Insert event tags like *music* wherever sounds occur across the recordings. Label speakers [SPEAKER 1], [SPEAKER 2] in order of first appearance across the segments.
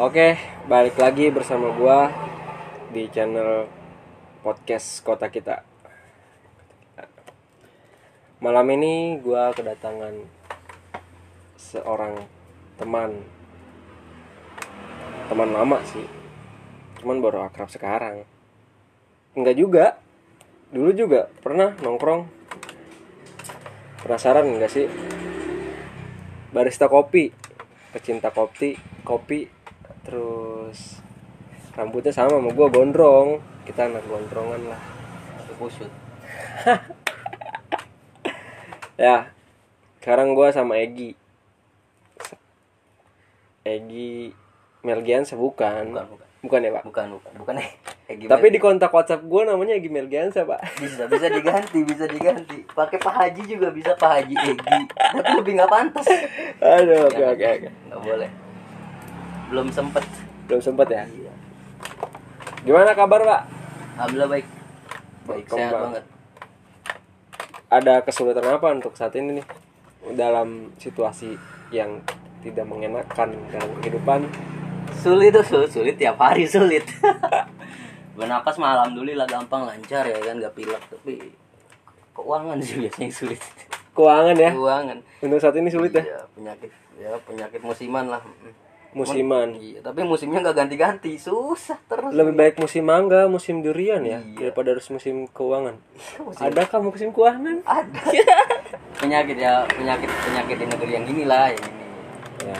[SPEAKER 1] Oke, balik lagi bersama gua di channel podcast Kota Kita. Malam ini gua kedatangan seorang teman. Teman lama sih. Cuman baru akrab sekarang. Enggak juga. Dulu juga pernah nongkrong. Penasaran enggak sih? Barista kopi, pecinta kopi, kopi terus rambutnya sama sama gue gondrong kita anak gondrongan lah
[SPEAKER 2] Aku kusut.
[SPEAKER 1] ya sekarang gue sama Egi Egi Melgiansa bukan
[SPEAKER 2] Bukan, bukan.
[SPEAKER 1] bukan ya pak
[SPEAKER 2] Bukan, bukan. Bukan eh. eh gimana?
[SPEAKER 1] tapi di kontak WhatsApp gue namanya Egi Melgiansa pak
[SPEAKER 2] bisa bisa diganti, bisa diganti. Pakai Pak Haji juga bisa Pak Haji Egi. Tapi lebih nggak pantas.
[SPEAKER 1] *laughs* aduh oke
[SPEAKER 2] Ya,
[SPEAKER 1] oke oke
[SPEAKER 2] Nggak boleh. Belum sempet.
[SPEAKER 1] belum sempat ya
[SPEAKER 2] Iya.
[SPEAKER 1] gimana kabar pak
[SPEAKER 2] Alhamdulillah baik. Baik,
[SPEAKER 1] Berkembang.
[SPEAKER 2] sehat banget.
[SPEAKER 1] ada kesulitan apa untuk saat ini nih dalam situasi yang tidak mengenakan dalam kehidupan
[SPEAKER 2] Sulit tuh, sulit, sulit tiap hari sulit. *laughs* Bernapas mah alhamdulillah gampang lancar ya kan nggak pilek tapi keuangan sih biasanya yang sulit.
[SPEAKER 1] keuangan ya
[SPEAKER 2] Keuangan.
[SPEAKER 1] untuk saat ini sulit ya
[SPEAKER 2] Iya, penyakit ya penyakit musiman lah. Mm.
[SPEAKER 1] musiman
[SPEAKER 2] Iya, tapi musimnya nggak ganti-ganti, susah terus.
[SPEAKER 1] Lebih baik musim mangga, musim durian ya,
[SPEAKER 2] Iya.
[SPEAKER 1] daripada harus musim keuangan.
[SPEAKER 2] Iya, musim-
[SPEAKER 1] Adakah musim keuangan?
[SPEAKER 2] ada. penyakit ya, penyakit penyakit di negeri yang gini lah, yang ini. Iya.
[SPEAKER 1] Ya.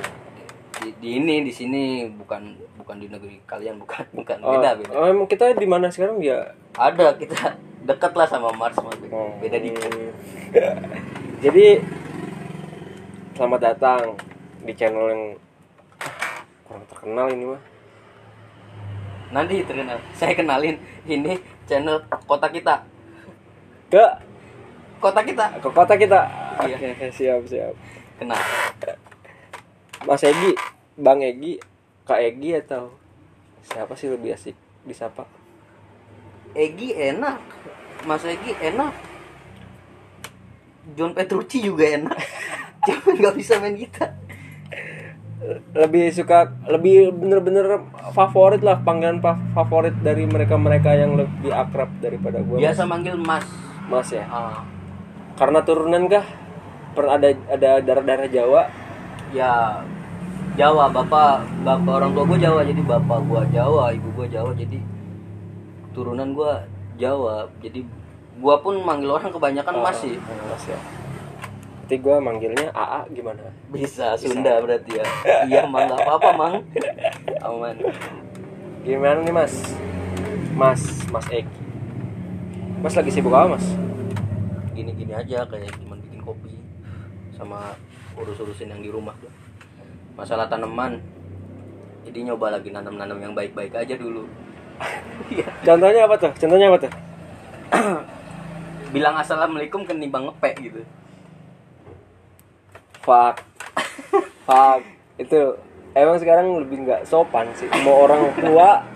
[SPEAKER 2] Di, di ini, di sini bukan bukan di negeri kalian, bukan bukan
[SPEAKER 1] Oh,
[SPEAKER 2] beda beda.
[SPEAKER 1] oh, emang kita di mana sekarang ya?
[SPEAKER 2] Ada kita dekat lah sama Mars, sama beda, Oh.
[SPEAKER 1] Oh.
[SPEAKER 2] beda dikit.
[SPEAKER 1] Hmm. *laughs* Jadi selamat datang di channel yang kurang terkenal ini mah.
[SPEAKER 2] Nanti terkenal. Saya kenalin ini channel kota kita,
[SPEAKER 1] Ke
[SPEAKER 2] kota kita.
[SPEAKER 1] ke kota kita.
[SPEAKER 2] Iya.
[SPEAKER 1] Oke, oke, siap siap.
[SPEAKER 2] Kenal.
[SPEAKER 1] Mas Egi, Bang Egi, Kak Egi atau siapa sih lebih asik disapa?
[SPEAKER 2] Egi enak, Mas Egi enak. John Petrucci juga enak. Cuman nggak bisa main gitar.
[SPEAKER 1] lebih suka lebih bener-bener favorit lah panggilan fa- favorit dari mereka-mereka yang lebih akrab daripada gue
[SPEAKER 2] biasa manggil mas
[SPEAKER 1] mas ya
[SPEAKER 2] Ah,
[SPEAKER 1] karena turunan kah pernah ada ada darah-darah Jawa
[SPEAKER 2] ya Jawa bapak bapak orang tua gue Jawa jadi bapak gue Jawa ibu gue Jawa jadi turunan gue Jawa jadi gue pun manggil orang kebanyakan mas sih
[SPEAKER 1] mas ya nanti gue manggilnya AA gimana
[SPEAKER 2] bisa Sunda berarti ya *laughs* iya mang nggak apa-apa mang aman
[SPEAKER 1] gimana nih mas mas mas Eki mas lagi sibuk apa mas
[SPEAKER 2] gini-gini aja kayak cuman bikin kopi sama urus-urusin yang di rumah tuh masalah tanaman jadi nyoba lagi nanam-nanam yang baik-baik aja dulu iya
[SPEAKER 1] contohnya apa tuh contohnya apa tuh
[SPEAKER 2] bilang assalamualaikum kenimbang ngepek gitu
[SPEAKER 1] fuck *laughs* fuck itu emang sekarang lebih nggak sopan sih mau orang tua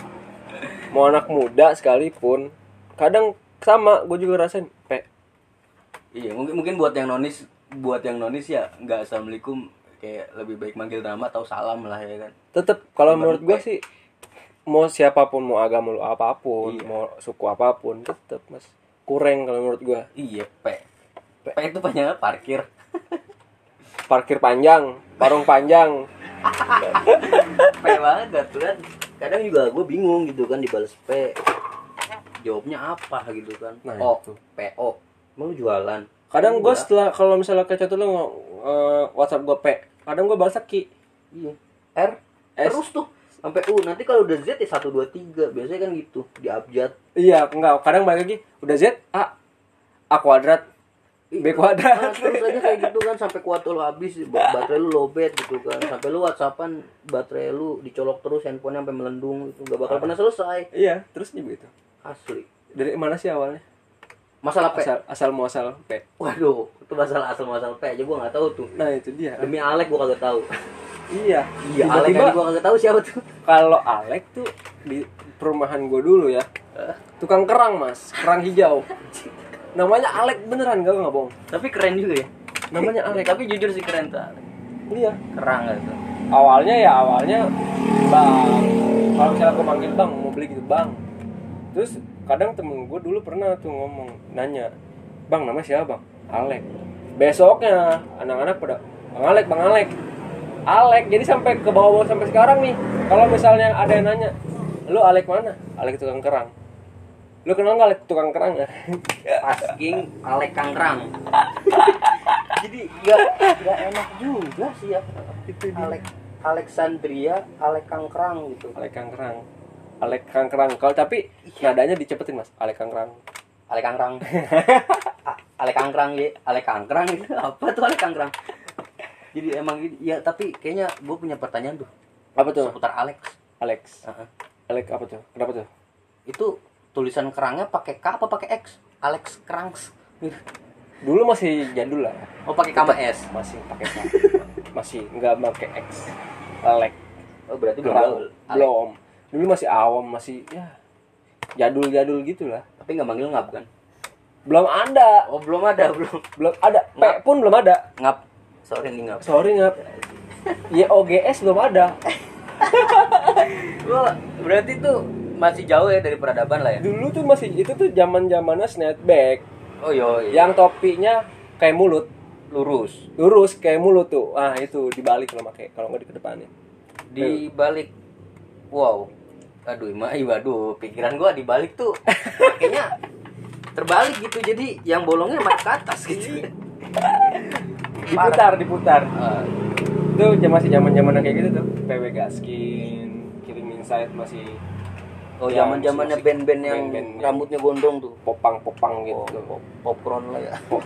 [SPEAKER 1] mau anak muda sekalipun kadang sama gue juga rasain pe
[SPEAKER 2] iya mungkin mungkin buat yang nonis buat yang nonis ya nggak assalamualaikum kayak lebih baik manggil nama atau salam lah ya kan
[SPEAKER 1] tetep kalau menurut gue sih mau siapapun mau agama lu apapun mau suku apapun tetep mas kurang kalau menurut gue
[SPEAKER 2] iya pe pe itu banyak parkir *laughs*
[SPEAKER 1] parkir panjang parung panjang
[SPEAKER 2] pe banget aturan kadang juga gue bingung gitu kan dibales pe jawabnya apa gitu kan
[SPEAKER 1] Nah,
[SPEAKER 2] o po mau jualan
[SPEAKER 1] kadang gue
[SPEAKER 2] Enggak.
[SPEAKER 1] setelah kalau misalnya kayak contoh lu nge- eh, WhatsApp gue pe kadang gue balas ki
[SPEAKER 2] Iya. R
[SPEAKER 1] S.
[SPEAKER 2] terus tuh sampai U nanti kalau udah Z ya satu dua tiga biasanya kan gitu di abjad
[SPEAKER 1] Iya, enggak. Kadang balik lagi udah Z A A kuadrat B
[SPEAKER 2] Nah,
[SPEAKER 1] kuadrat.
[SPEAKER 2] *laughs* terus aja kayak gitu kan sampai kuat lo habis ba- baterai lu lobet gitu kan sampai lu whatsappan baterai lu dicolok terus handphonenya sampai melendung itu gak bakal pernah selesai
[SPEAKER 1] iya, terus juga itu.
[SPEAKER 2] asli
[SPEAKER 1] Dari mana sih awalnya?
[SPEAKER 2] masalah P
[SPEAKER 1] Asal asal muasal P.
[SPEAKER 2] waduh itu masalah asal masalah P aja gua nggak tahu tuh
[SPEAKER 1] Nah, itu dia.
[SPEAKER 2] demi Alek gua kagak tahu
[SPEAKER 1] Iya.
[SPEAKER 2] iya Alek aja
[SPEAKER 1] Tiba-tiba
[SPEAKER 2] gua kagak tahu siapa tuh
[SPEAKER 1] kalau Alek tuh di perumahan gue dulu ya.
[SPEAKER 2] Eh?
[SPEAKER 1] Tukang kerang, Mas. Kerang hijau. Namanya Alek beneran gak nggak bohong.
[SPEAKER 2] tapi keren juga ya
[SPEAKER 1] Namanya Alek.
[SPEAKER 2] tapi jujur sih keren tuh Alek.
[SPEAKER 1] Iya.
[SPEAKER 2] kerang gitu
[SPEAKER 1] awalnya ya awalnya bang kalau misalnya aku manggil bang mau beli gitu bang terus kadang temen gue dulu pernah tuh ngomong nanya bang nama siapa bang Alek besoknya anak-anak pada bang Alek bang Alek Alek jadi sampai ke bawah-bawah sampai sekarang nih kalau misalnya ada yang nanya lu Alek mana Alek tukang kerang lu kenal nggak Alek tukang kerang *laughs*
[SPEAKER 2] Asking Alek Kangrang. Jadi nggak nggak enak juga sih ya.
[SPEAKER 1] itu
[SPEAKER 2] Alek Alexandria, Alek Kangrang gitu.
[SPEAKER 1] Alek Kangkerang. Alek Kangkerang. Kalau tapi nadanya dicepetin Mas. Alek Kangkerang.
[SPEAKER 2] Alek *laughs* Kangrang. A- Alek Kangrang ya, Alek Kangrang gitu. Apa tuh Alek Kangrang? Jadi emang ini- ya tapi kayaknya gue punya pertanyaan tuh
[SPEAKER 1] Apa tuh?
[SPEAKER 2] seputar Alex.
[SPEAKER 1] Alex.
[SPEAKER 2] Heeh.
[SPEAKER 1] Alek apa tuh? Kenapa tuh?
[SPEAKER 2] Itu tulisan kerangnya pakai K apa pakai X? Alex Krangs. Gitu.
[SPEAKER 1] Dulu masih jadul lah.
[SPEAKER 2] Oh pakai K sama S.
[SPEAKER 1] Masih pakai K. masih nggak pakai X. Alek.
[SPEAKER 2] Oh berarti
[SPEAKER 1] Kerang.
[SPEAKER 2] Belum.
[SPEAKER 1] Belum. Dulu masih awam, masih ya jadul-jadul gitulah.
[SPEAKER 2] Tapi nggak manggil ngap kan?
[SPEAKER 1] Belum ada.
[SPEAKER 2] Oh belum ada *laughs* belum.
[SPEAKER 1] Belum ada. P
[SPEAKER 2] Nggak.
[SPEAKER 1] pun belum ada.
[SPEAKER 2] Ngap. Sorry nih ngap.
[SPEAKER 1] Sorry ngap. YOGS belum ada.
[SPEAKER 2] Wah, berarti tuh masih jauh ya dari peradaban lah ya.
[SPEAKER 1] Dulu tuh masih itu tuh zaman-zamannya snapback
[SPEAKER 2] Oh yo,
[SPEAKER 1] yang topinya kayak mulut.
[SPEAKER 2] lurus
[SPEAKER 1] lurus kayak mulut tuh ah itu dibalik kalau pakai kalau nggak di kedepannya
[SPEAKER 2] di balik. Wow. Aduh, ma, ih, waduh, pikiran gua di balik tuh kayaknya terbalik gitu. Jadi yang bolongnya maju ke *laughs* atas gitu.
[SPEAKER 1] diputar diputar
[SPEAKER 2] Eh,
[SPEAKER 1] Ah. itu jam- masih zaman zaman kayak gitu tuh PW Gaskin Killing Inside masih Ya,
[SPEAKER 2] oh, zaman-zamannya iya. band-band yang
[SPEAKER 1] Band-band yang-
[SPEAKER 2] rambutnya gondrong tuh.
[SPEAKER 1] popang popang gitu
[SPEAKER 2] Oh, pop popcorn lah ya.
[SPEAKER 1] pop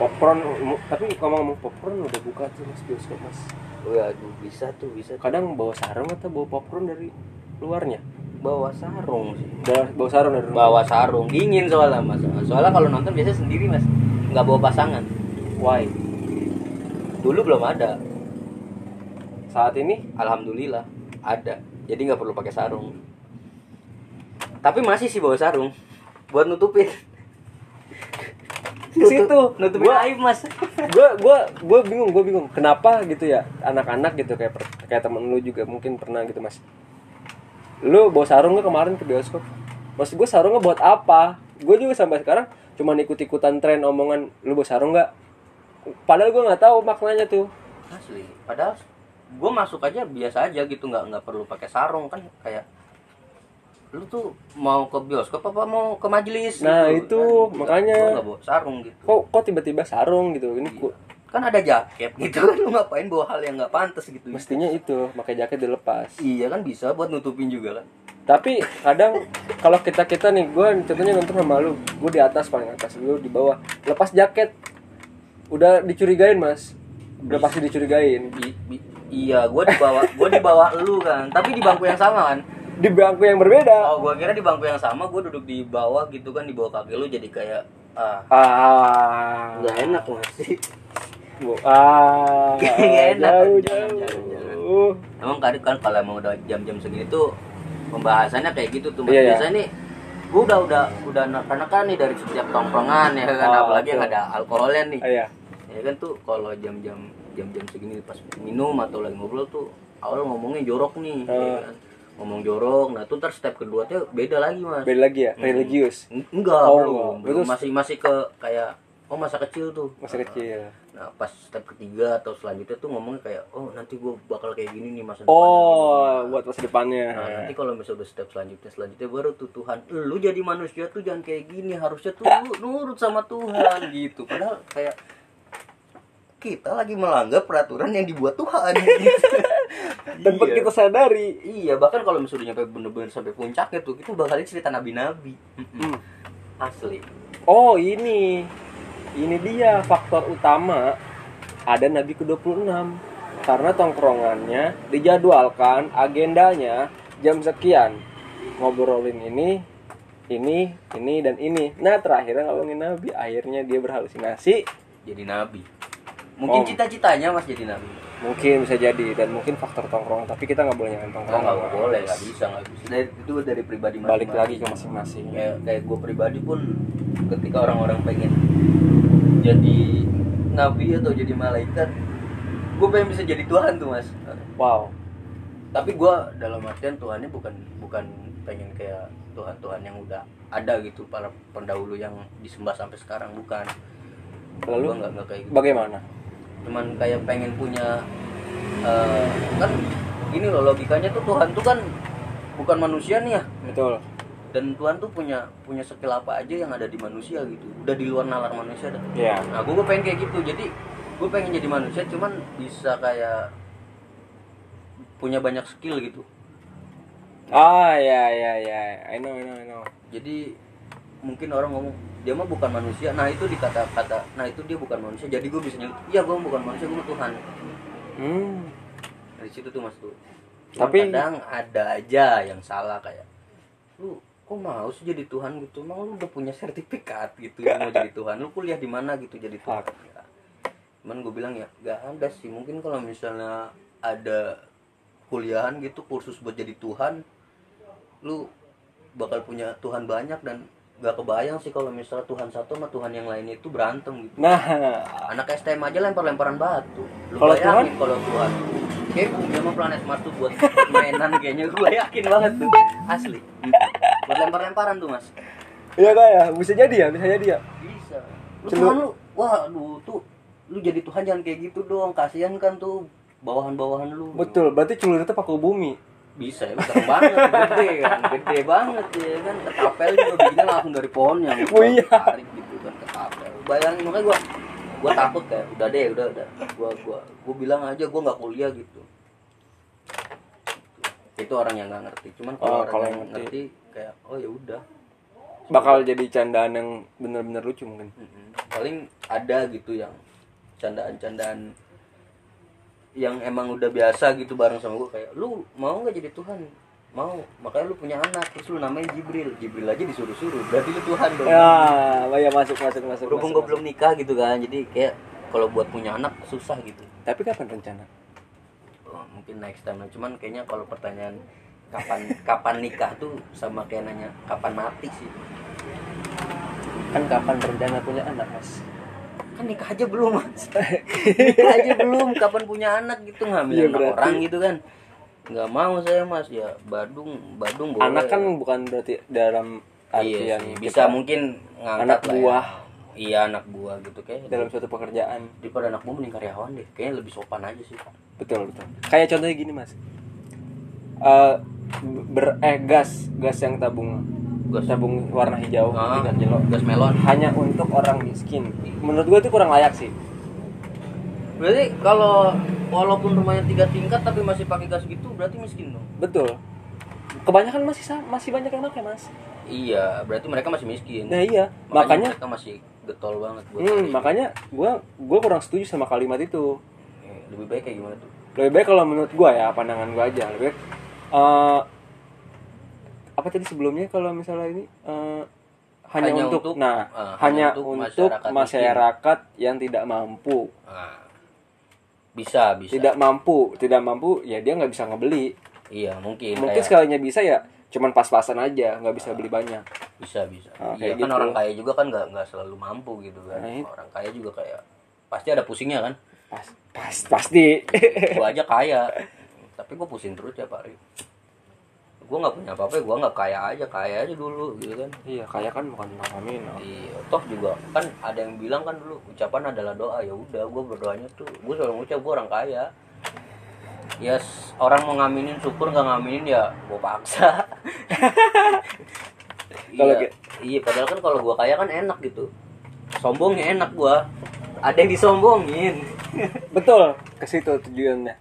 [SPEAKER 1] popcorn mu- tapi ngomong ngomong popcorn udah buka tuh mas bioskop mas
[SPEAKER 2] Oh, ya, aduh, bisa tuh, bisa tuh.
[SPEAKER 1] kadang bawa sarung atau bawa popcorn dari luarnya
[SPEAKER 2] bawa sarung sih.
[SPEAKER 1] bawa, bawa sarung dari rumah
[SPEAKER 2] Bawa sarung dingin soalnya, Mas. Soalnya kalau nonton biasanya sendiri, Mas. Nggak bawa pasangan.
[SPEAKER 1] why
[SPEAKER 2] Dulu belum ada.
[SPEAKER 1] saat
[SPEAKER 2] *laughs*
[SPEAKER 1] ini
[SPEAKER 2] Alhamdulillah ada. Jadi nggak perlu pakai sarung. Tapi masih sih bawa sarung buat nutupin.
[SPEAKER 1] *laughs* Ke situ.
[SPEAKER 2] nutupin
[SPEAKER 1] Gua-
[SPEAKER 2] aib mas.
[SPEAKER 1] gue gue gue bingung gue bingung kenapa gitu ya anak-anak gitu kayak per- kayak temen lu juga mungkin pernah gitu mas lu bawa sarung gak kemarin ke bioskop maksud gue sarungnya buat apa gue juga sampai sekarang cuman ikut-ikutan tren omongan lu bawa sarung nggak padahal gue nggak tahu maknanya tuh
[SPEAKER 2] Asli. Padahal gue masuk aja biasa aja gitu nggak nggak perlu pakai sarung kan kayak lu tuh mau ke bioskop apa mau ke majelis gitu,
[SPEAKER 1] Nah,
[SPEAKER 2] kan?
[SPEAKER 1] itu,
[SPEAKER 2] Nggak-
[SPEAKER 1] makanya.
[SPEAKER 2] gua nggak bawa sarung gitu
[SPEAKER 1] kok kok tiba-tiba sarung gitu ini ku-
[SPEAKER 2] kan ada jaket gitu *laughs* kan lu ngapain bawa hal yang nggak pantas gitu
[SPEAKER 1] mestinya itu pakai jaket dilepas
[SPEAKER 2] iya kan bisa buat nutupin juga kan
[SPEAKER 1] tapi kadang kalau kita kita nih gue contohnya nonton sama lu gue di atas paling atas lu di bawah lepas jaket udah dicurigain mas udah pasti dicurigain
[SPEAKER 2] I- i- iya gue dibawa gue dibawa lu kan tapi di bangku yang sama kan
[SPEAKER 1] di bangku yang berbeda
[SPEAKER 2] oh gue kira di bangku yang sama gue duduk di bawah gitu kan di bawah kaki lu jadi kayak ah
[SPEAKER 1] ah
[SPEAKER 2] nggak enak masih
[SPEAKER 1] Bu- ah
[SPEAKER 2] Nggak enak.
[SPEAKER 1] jauh
[SPEAKER 2] Jangan,
[SPEAKER 1] jauh,
[SPEAKER 2] jangan, emang kadang kan kalau emang udah jam-jam segini tuh pembahasannya kayak gitu tuh Mas.
[SPEAKER 1] Iya, iya.
[SPEAKER 2] biasanya nih gue udah udah udah anak-anakan nih dari setiap tongkrongan ya kan
[SPEAKER 1] Ah,
[SPEAKER 2] apalagi yang
[SPEAKER 1] betul.
[SPEAKER 2] ada alkoholnya nih
[SPEAKER 1] Ah, iya
[SPEAKER 2] ya kan tuh kalau jam-jam jam-jam segini pas minum atau lagi ngobrol tuh awal ngomongnya jorok nih ya
[SPEAKER 1] Eh.
[SPEAKER 2] kan. ngomong jorok nah tuh ntar step kedua tuh beda lagi mas
[SPEAKER 1] beda lagi ya
[SPEAKER 2] Hmm.
[SPEAKER 1] religius
[SPEAKER 2] Eng- enggak
[SPEAKER 1] Oh,
[SPEAKER 2] belum,
[SPEAKER 1] enggak.
[SPEAKER 2] belum.
[SPEAKER 1] Itu-
[SPEAKER 2] masih masih ke kayak oh masa kecil tuh
[SPEAKER 1] masa kecil
[SPEAKER 2] nah pas step ketiga atau selanjutnya tuh ngomongnya kayak oh nanti gua bakal kayak gini nih masa depan
[SPEAKER 1] oh buat masa
[SPEAKER 2] Nah,
[SPEAKER 1] depannya
[SPEAKER 2] nanti kalau misalnya udah step selanjutnya selanjutnya baru tuh Tuhan lu jadi manusia tuh jangan kayak gini harusnya tuh lu nurut sama Tuhan gitu padahal kayak kita lagi melanggar peraturan yang dibuat
[SPEAKER 1] *laughs*
[SPEAKER 2] Tuhan gitu.
[SPEAKER 1] tanpa
[SPEAKER 2] Iya.
[SPEAKER 1] kita sadari
[SPEAKER 2] iya bahkan kalau misalnya nyampe bener-bener sampai puncaknya tuh itu bakal cerita nabi-nabi
[SPEAKER 1] Hmm.
[SPEAKER 2] asli
[SPEAKER 1] Oh ini Ini dia faktor utama Ada Nabi ke-26 Karena tongkrongannya Dijadwalkan agendanya Jam sekian Ngobrolin ini Ini, ini, dan ini Nah terakhirnya ngomongin Nabi Akhirnya dia berhalusinasi
[SPEAKER 2] jadi nabi mungkin
[SPEAKER 1] Om.
[SPEAKER 2] cita-citanya mas jadi nabi
[SPEAKER 1] Mungkin bisa jadi Dan mungkin faktor tongkrong Tapi kita nggak boleh nyalain
[SPEAKER 2] nggak
[SPEAKER 1] tongkrong
[SPEAKER 2] Oh, nggak boleh nggak bisa nggak bisa Dari- itu dari pribadi
[SPEAKER 1] Balik
[SPEAKER 2] masing-masing.
[SPEAKER 1] lagi ke masing-masing
[SPEAKER 2] kayak kayak gue pribadi pun ketika orang-orang pengen jadi nabi atau jadi malaikat gue pengen bisa jadi Tuhan tuh mas
[SPEAKER 1] wow
[SPEAKER 2] tapi gue dalam artian Tuhannya bukan bukan pengen kayak Tuhan Tuhan yang udah ada gitu para pendahulu yang disembah sampai sekarang bukan
[SPEAKER 1] Lalu?
[SPEAKER 2] Gua nggak nggak kayak gitu
[SPEAKER 1] bagaimana
[SPEAKER 2] cuman kayak pengen punya eh, kan gini loh logikanya tuh Tuhan tuh kan bukan manusia nih ya
[SPEAKER 1] betul
[SPEAKER 2] dan Tuhan tuh punya punya skill apa aja yang ada di manusia gitu udah di luar nalar manusia dah
[SPEAKER 1] ya
[SPEAKER 2] nah gue pengen kayak gitu jadi gue pengen jadi manusia cuman bisa kayak punya banyak skill gitu
[SPEAKER 1] ah ya ya ya I know I know I know
[SPEAKER 2] jadi mungkin orang ngomong dia mah bukan manusia nah itu dikata-kata nah itu dia bukan manusia jadi gue bisa nyebut iya gue bukan manusia gue Tuhan
[SPEAKER 1] hmm
[SPEAKER 2] dari situ tuh mas tuh
[SPEAKER 1] Tapi-
[SPEAKER 2] tapi kadang ada aja yang salah kayak lu kok mau sih jadi Tuhan gitu emang lu udah punya sertifikat gitu lu mau jadi Tuhan lu kuliah di mana gitu jadi Tuhan
[SPEAKER 1] Fuck.
[SPEAKER 2] Ya. cuman gue bilang ya gak ada sih mungkin kalau misalnya ada kuliahan gitu kursus buat jadi Tuhan lu bakal punya Tuhan banyak dan gak kebayang sih kalau misalnya Tuhan satu sama Tuhan yang lain itu berantem gitu
[SPEAKER 1] nah
[SPEAKER 2] anak STM aja lempar-lemparan batu. Lu
[SPEAKER 1] Kalau
[SPEAKER 2] bayangin kalau Tuhan. Kayak bumi sama planet Mars tuh buat mainan kayaknya gue yakin banget tuh. Asli. Buat lempar-lemparan tuh, Mas.
[SPEAKER 1] iya kak ya bisa jadi ya bisa jadi ya
[SPEAKER 2] Bisa. Lu
[SPEAKER 1] Celu-
[SPEAKER 2] Tuhan lu, wah lu tuh lu jadi Tuhan jangan kayak gitu dong. Kasihan kan tuh bawahan-bawahan lu.
[SPEAKER 1] betul berarti celur itu pakai bumi
[SPEAKER 2] Bisa ya, besar banget, gede kan, gede banget ya kan, ketapel juga bikinnya langsung dari pohonnya,
[SPEAKER 1] Oh iya.
[SPEAKER 2] tarik gitu kan ketapel. Bayangin makanya gua, gua takut kayak, udah deh, udah, udah, gua, gua, gua bilang aja gua nggak kuliah gitu. Itu orang yang nggak ngerti, cuman kalau
[SPEAKER 1] Oh,
[SPEAKER 2] orang
[SPEAKER 1] kalau
[SPEAKER 2] yang
[SPEAKER 1] yang ngerti.
[SPEAKER 2] ngerti. kayak, oh ya udah,
[SPEAKER 1] bakal jadi candaan yang bener-bener lucu mungkin
[SPEAKER 2] Mm-mm. paling ada gitu yang candaan-candaan yang emang udah biasa gitu bareng sama gue kayak lu mau nggak jadi Tuhan mau makanya lu punya anak terus lu namanya Jibril Jibril aja disuruh-suruh berarti lu Tuhan dong
[SPEAKER 1] ya ya masuk masuk masuk
[SPEAKER 2] Iya. berhubung
[SPEAKER 1] masuk,
[SPEAKER 2] gue belum nikah gitu kan jadi kayak kalau buat punya anak susah gitu
[SPEAKER 1] masuk. tapi kapan rencana
[SPEAKER 2] Oh, mungkin next time lah. cuman kayaknya kalau pertanyaan kapan kapan nikah tuh sama kayak nanya kapan mati sih
[SPEAKER 1] kan kapan rencana punya anak mas
[SPEAKER 2] kan nikah aja belum
[SPEAKER 1] *laughs*
[SPEAKER 2] mas nikah aja belum kapan punya anak gitu ngambil
[SPEAKER 1] Iya,
[SPEAKER 2] anak
[SPEAKER 1] berarti.
[SPEAKER 2] orang gitu kan nggak mau saya mas ya Badung Badung boleh
[SPEAKER 1] anak kan bukan berarti dalam
[SPEAKER 2] iya
[SPEAKER 1] artian
[SPEAKER 2] sih, bisa
[SPEAKER 1] bisa
[SPEAKER 2] mungkin ngangkat
[SPEAKER 1] anak
[SPEAKER 2] lah ya.
[SPEAKER 1] buah.
[SPEAKER 2] iya anak buah gitu kayak
[SPEAKER 1] dalam suatu pekerjaan
[SPEAKER 2] daripada anak buah mending karyawan deh kayaknya lebih sopan aja sih
[SPEAKER 1] betul betul kayak contohnya gini mas Eh ber eh gas gas yang tabung
[SPEAKER 2] Gas.
[SPEAKER 1] tabung warna hijau
[SPEAKER 2] Ah,
[SPEAKER 1] tidak jelo
[SPEAKER 2] gas melon
[SPEAKER 1] hanya untuk orang miskin menurut gue itu kurang layak sih
[SPEAKER 2] berarti kalau walaupun rumahnya tiga tingkat tapi masih pakai gas gitu berarti miskin dong
[SPEAKER 1] betul kebanyakan masih sa- masih banyak yang pakai mas
[SPEAKER 2] iya berarti mereka masih miskin
[SPEAKER 1] nah iya makanya
[SPEAKER 2] mereka masih getol banget buat
[SPEAKER 1] hmm,
[SPEAKER 2] cari.
[SPEAKER 1] makanya gue gue kurang setuju sama kalimat itu
[SPEAKER 2] Eh, lebih baik kayak gimana tuh
[SPEAKER 1] lebih baik kalau menurut gue ya pandangan gue aja lebih baik, eh, apa tadi sebelumnya kalau misalnya ini eh, hanya,
[SPEAKER 2] Hanya
[SPEAKER 1] untuk,
[SPEAKER 2] untuk,
[SPEAKER 1] nah
[SPEAKER 2] eh,
[SPEAKER 1] hanya
[SPEAKER 2] hanya untuk
[SPEAKER 1] untuk masyarakat,
[SPEAKER 2] masyarakat
[SPEAKER 1] yang tidak mampu
[SPEAKER 2] Nah, bisa bisa
[SPEAKER 1] tidak mampu tidak mampu ya dia nggak bisa ngebeli
[SPEAKER 2] iya mungkin
[SPEAKER 1] mungkin
[SPEAKER 2] kayak-
[SPEAKER 1] sekalinya bisa ya cuman pas-pasan aja nggak bisa beli banyak
[SPEAKER 2] bisa bisa
[SPEAKER 1] Ah,
[SPEAKER 2] iya
[SPEAKER 1] kayak
[SPEAKER 2] kan
[SPEAKER 1] gitu.
[SPEAKER 2] orang kaya juga kan nggak nggak selalu mampu gitu kan
[SPEAKER 1] Nah, itu.
[SPEAKER 2] orang kaya juga kayak pasti ada pusingnya kan
[SPEAKER 1] pas pas pasti *laughs*
[SPEAKER 2] gua aja kaya tapi gua pusing terus tiap hari gua nggak punya apa-apa gua nggak kaya aja kaya aja dulu gitu kan
[SPEAKER 1] iya kaya kan bukan tentang nominal.
[SPEAKER 2] Iya, toh juga kan ada yang bilang kan dulu ucapan adalah doa ya udah gue berdoanya tuh gue selalu ngucap gue orang kaya ya s- orang mau ngaminin syukur nggak ngaminin ya gue paksa
[SPEAKER 1] Kalau
[SPEAKER 2] iya,
[SPEAKER 1] ki-
[SPEAKER 2] iya padahal kan kalau gue kaya kan enak gitu sombongnya enak gue ada yang disombongin
[SPEAKER 1] *laughs* betul ke situ tujuannya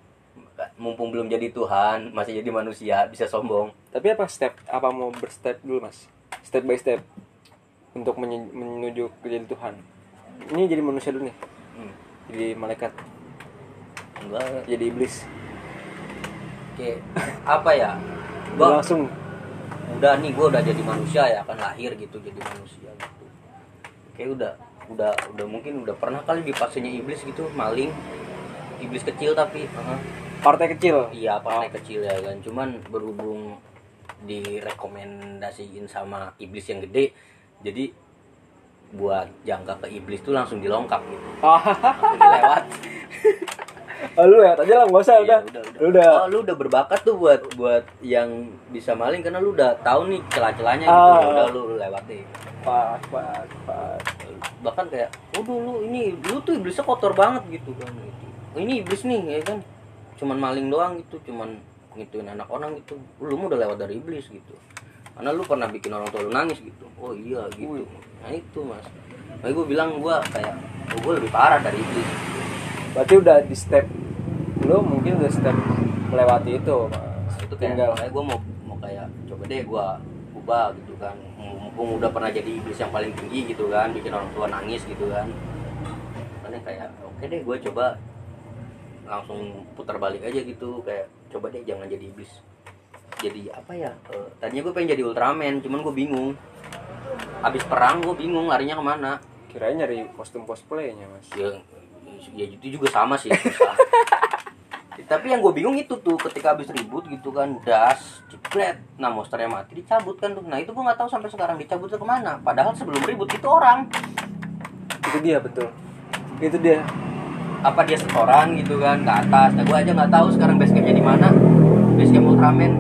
[SPEAKER 2] mumpung belum jadi Tuhan masih jadi manusia bisa sombong
[SPEAKER 1] Tapi apa step? Apa mau berstep dulu mas? Step by step untuk menye- menuju ke jadi Tuhan. Ini jadi manusia dulu nih,
[SPEAKER 2] hmm.
[SPEAKER 1] jadi malaikat,
[SPEAKER 2] enggak
[SPEAKER 1] jadi iblis.
[SPEAKER 2] kayak apa ya
[SPEAKER 1] Udah
[SPEAKER 2] gua
[SPEAKER 1] langsung
[SPEAKER 2] udah nih gue udah jadi manusia ya kan lahir gitu jadi manusia gitu kayak udah udah udah mungkin udah pernah kali di fasenya iblis gitu maling iblis kecil tapi uh-huh.
[SPEAKER 1] partai kecil. *laughs*
[SPEAKER 2] iya partai kecil ya kan cuman berhubung direkomendasiin sama iblis yang gede jadi buat jangka ke iblis tuh langsung dilongkap gitu
[SPEAKER 1] Ah, *laughs*
[SPEAKER 2] langsung dilewat
[SPEAKER 1] Oh, lu ya aja lah nggak usah udah.
[SPEAKER 2] Iya, udah,
[SPEAKER 1] Lu udah.
[SPEAKER 2] Oh, lu udah berbakat tuh buat buat yang bisa maling karena lu udah tahu nih celah-celahnya gitu.
[SPEAKER 1] Ah.
[SPEAKER 2] Udah lu, lu lewati.
[SPEAKER 1] Pas pas pas.
[SPEAKER 2] Bahkan kayak, "Waduh lu ini lu tuh iblisnya kotor banget gitu kan." Gitu. Ini iblis nih ya kan. Cuman maling doang gitu, cuman ngituin anak orang gitu. Lu mah udah lewat dari iblis gitu. Karena lu pernah bikin orang tua lu nangis gitu. Oh iya gitu. Nah itu Mas. Makanya gue bilang gua kayak oh, gue lebih parah dari iblis.
[SPEAKER 1] Berarti udah di step lu mungkin udah step melewati itu. Mas.
[SPEAKER 2] Nah, itu kayak
[SPEAKER 1] Tinggal.
[SPEAKER 2] kayak gue mau mau kayak coba deh gue ubah gitu kan mumpung udah pernah jadi iblis yang paling tinggi gitu kan bikin orang tua nangis gitu kan makanya kayak oke deh gue coba langsung putar balik aja gitu kayak coba deh jangan jadi iblis jadi apa ya eh, tadinya gue pengen jadi Ultraman cuman gue bingung abis perang gue bingung larinya kemana
[SPEAKER 1] Kirain nyari kostum cosplaynya mas.
[SPEAKER 2] ya, ya itu juga sama sih susah. tapi yang gue bingung itu tuh ketika habis ribut gitu kan das jebret nah monsternya mati dicabut kan tuh nah itu gue nggak tahu sampai sekarang dicabutnya kemana padahal sebelum ribut itu orang
[SPEAKER 1] Itu dia betul. Itu dia.
[SPEAKER 2] apa dia setoran gitu kan ke atas nah gue aja nggak tahu sekarang basecampnya di mana basecamp Ultraman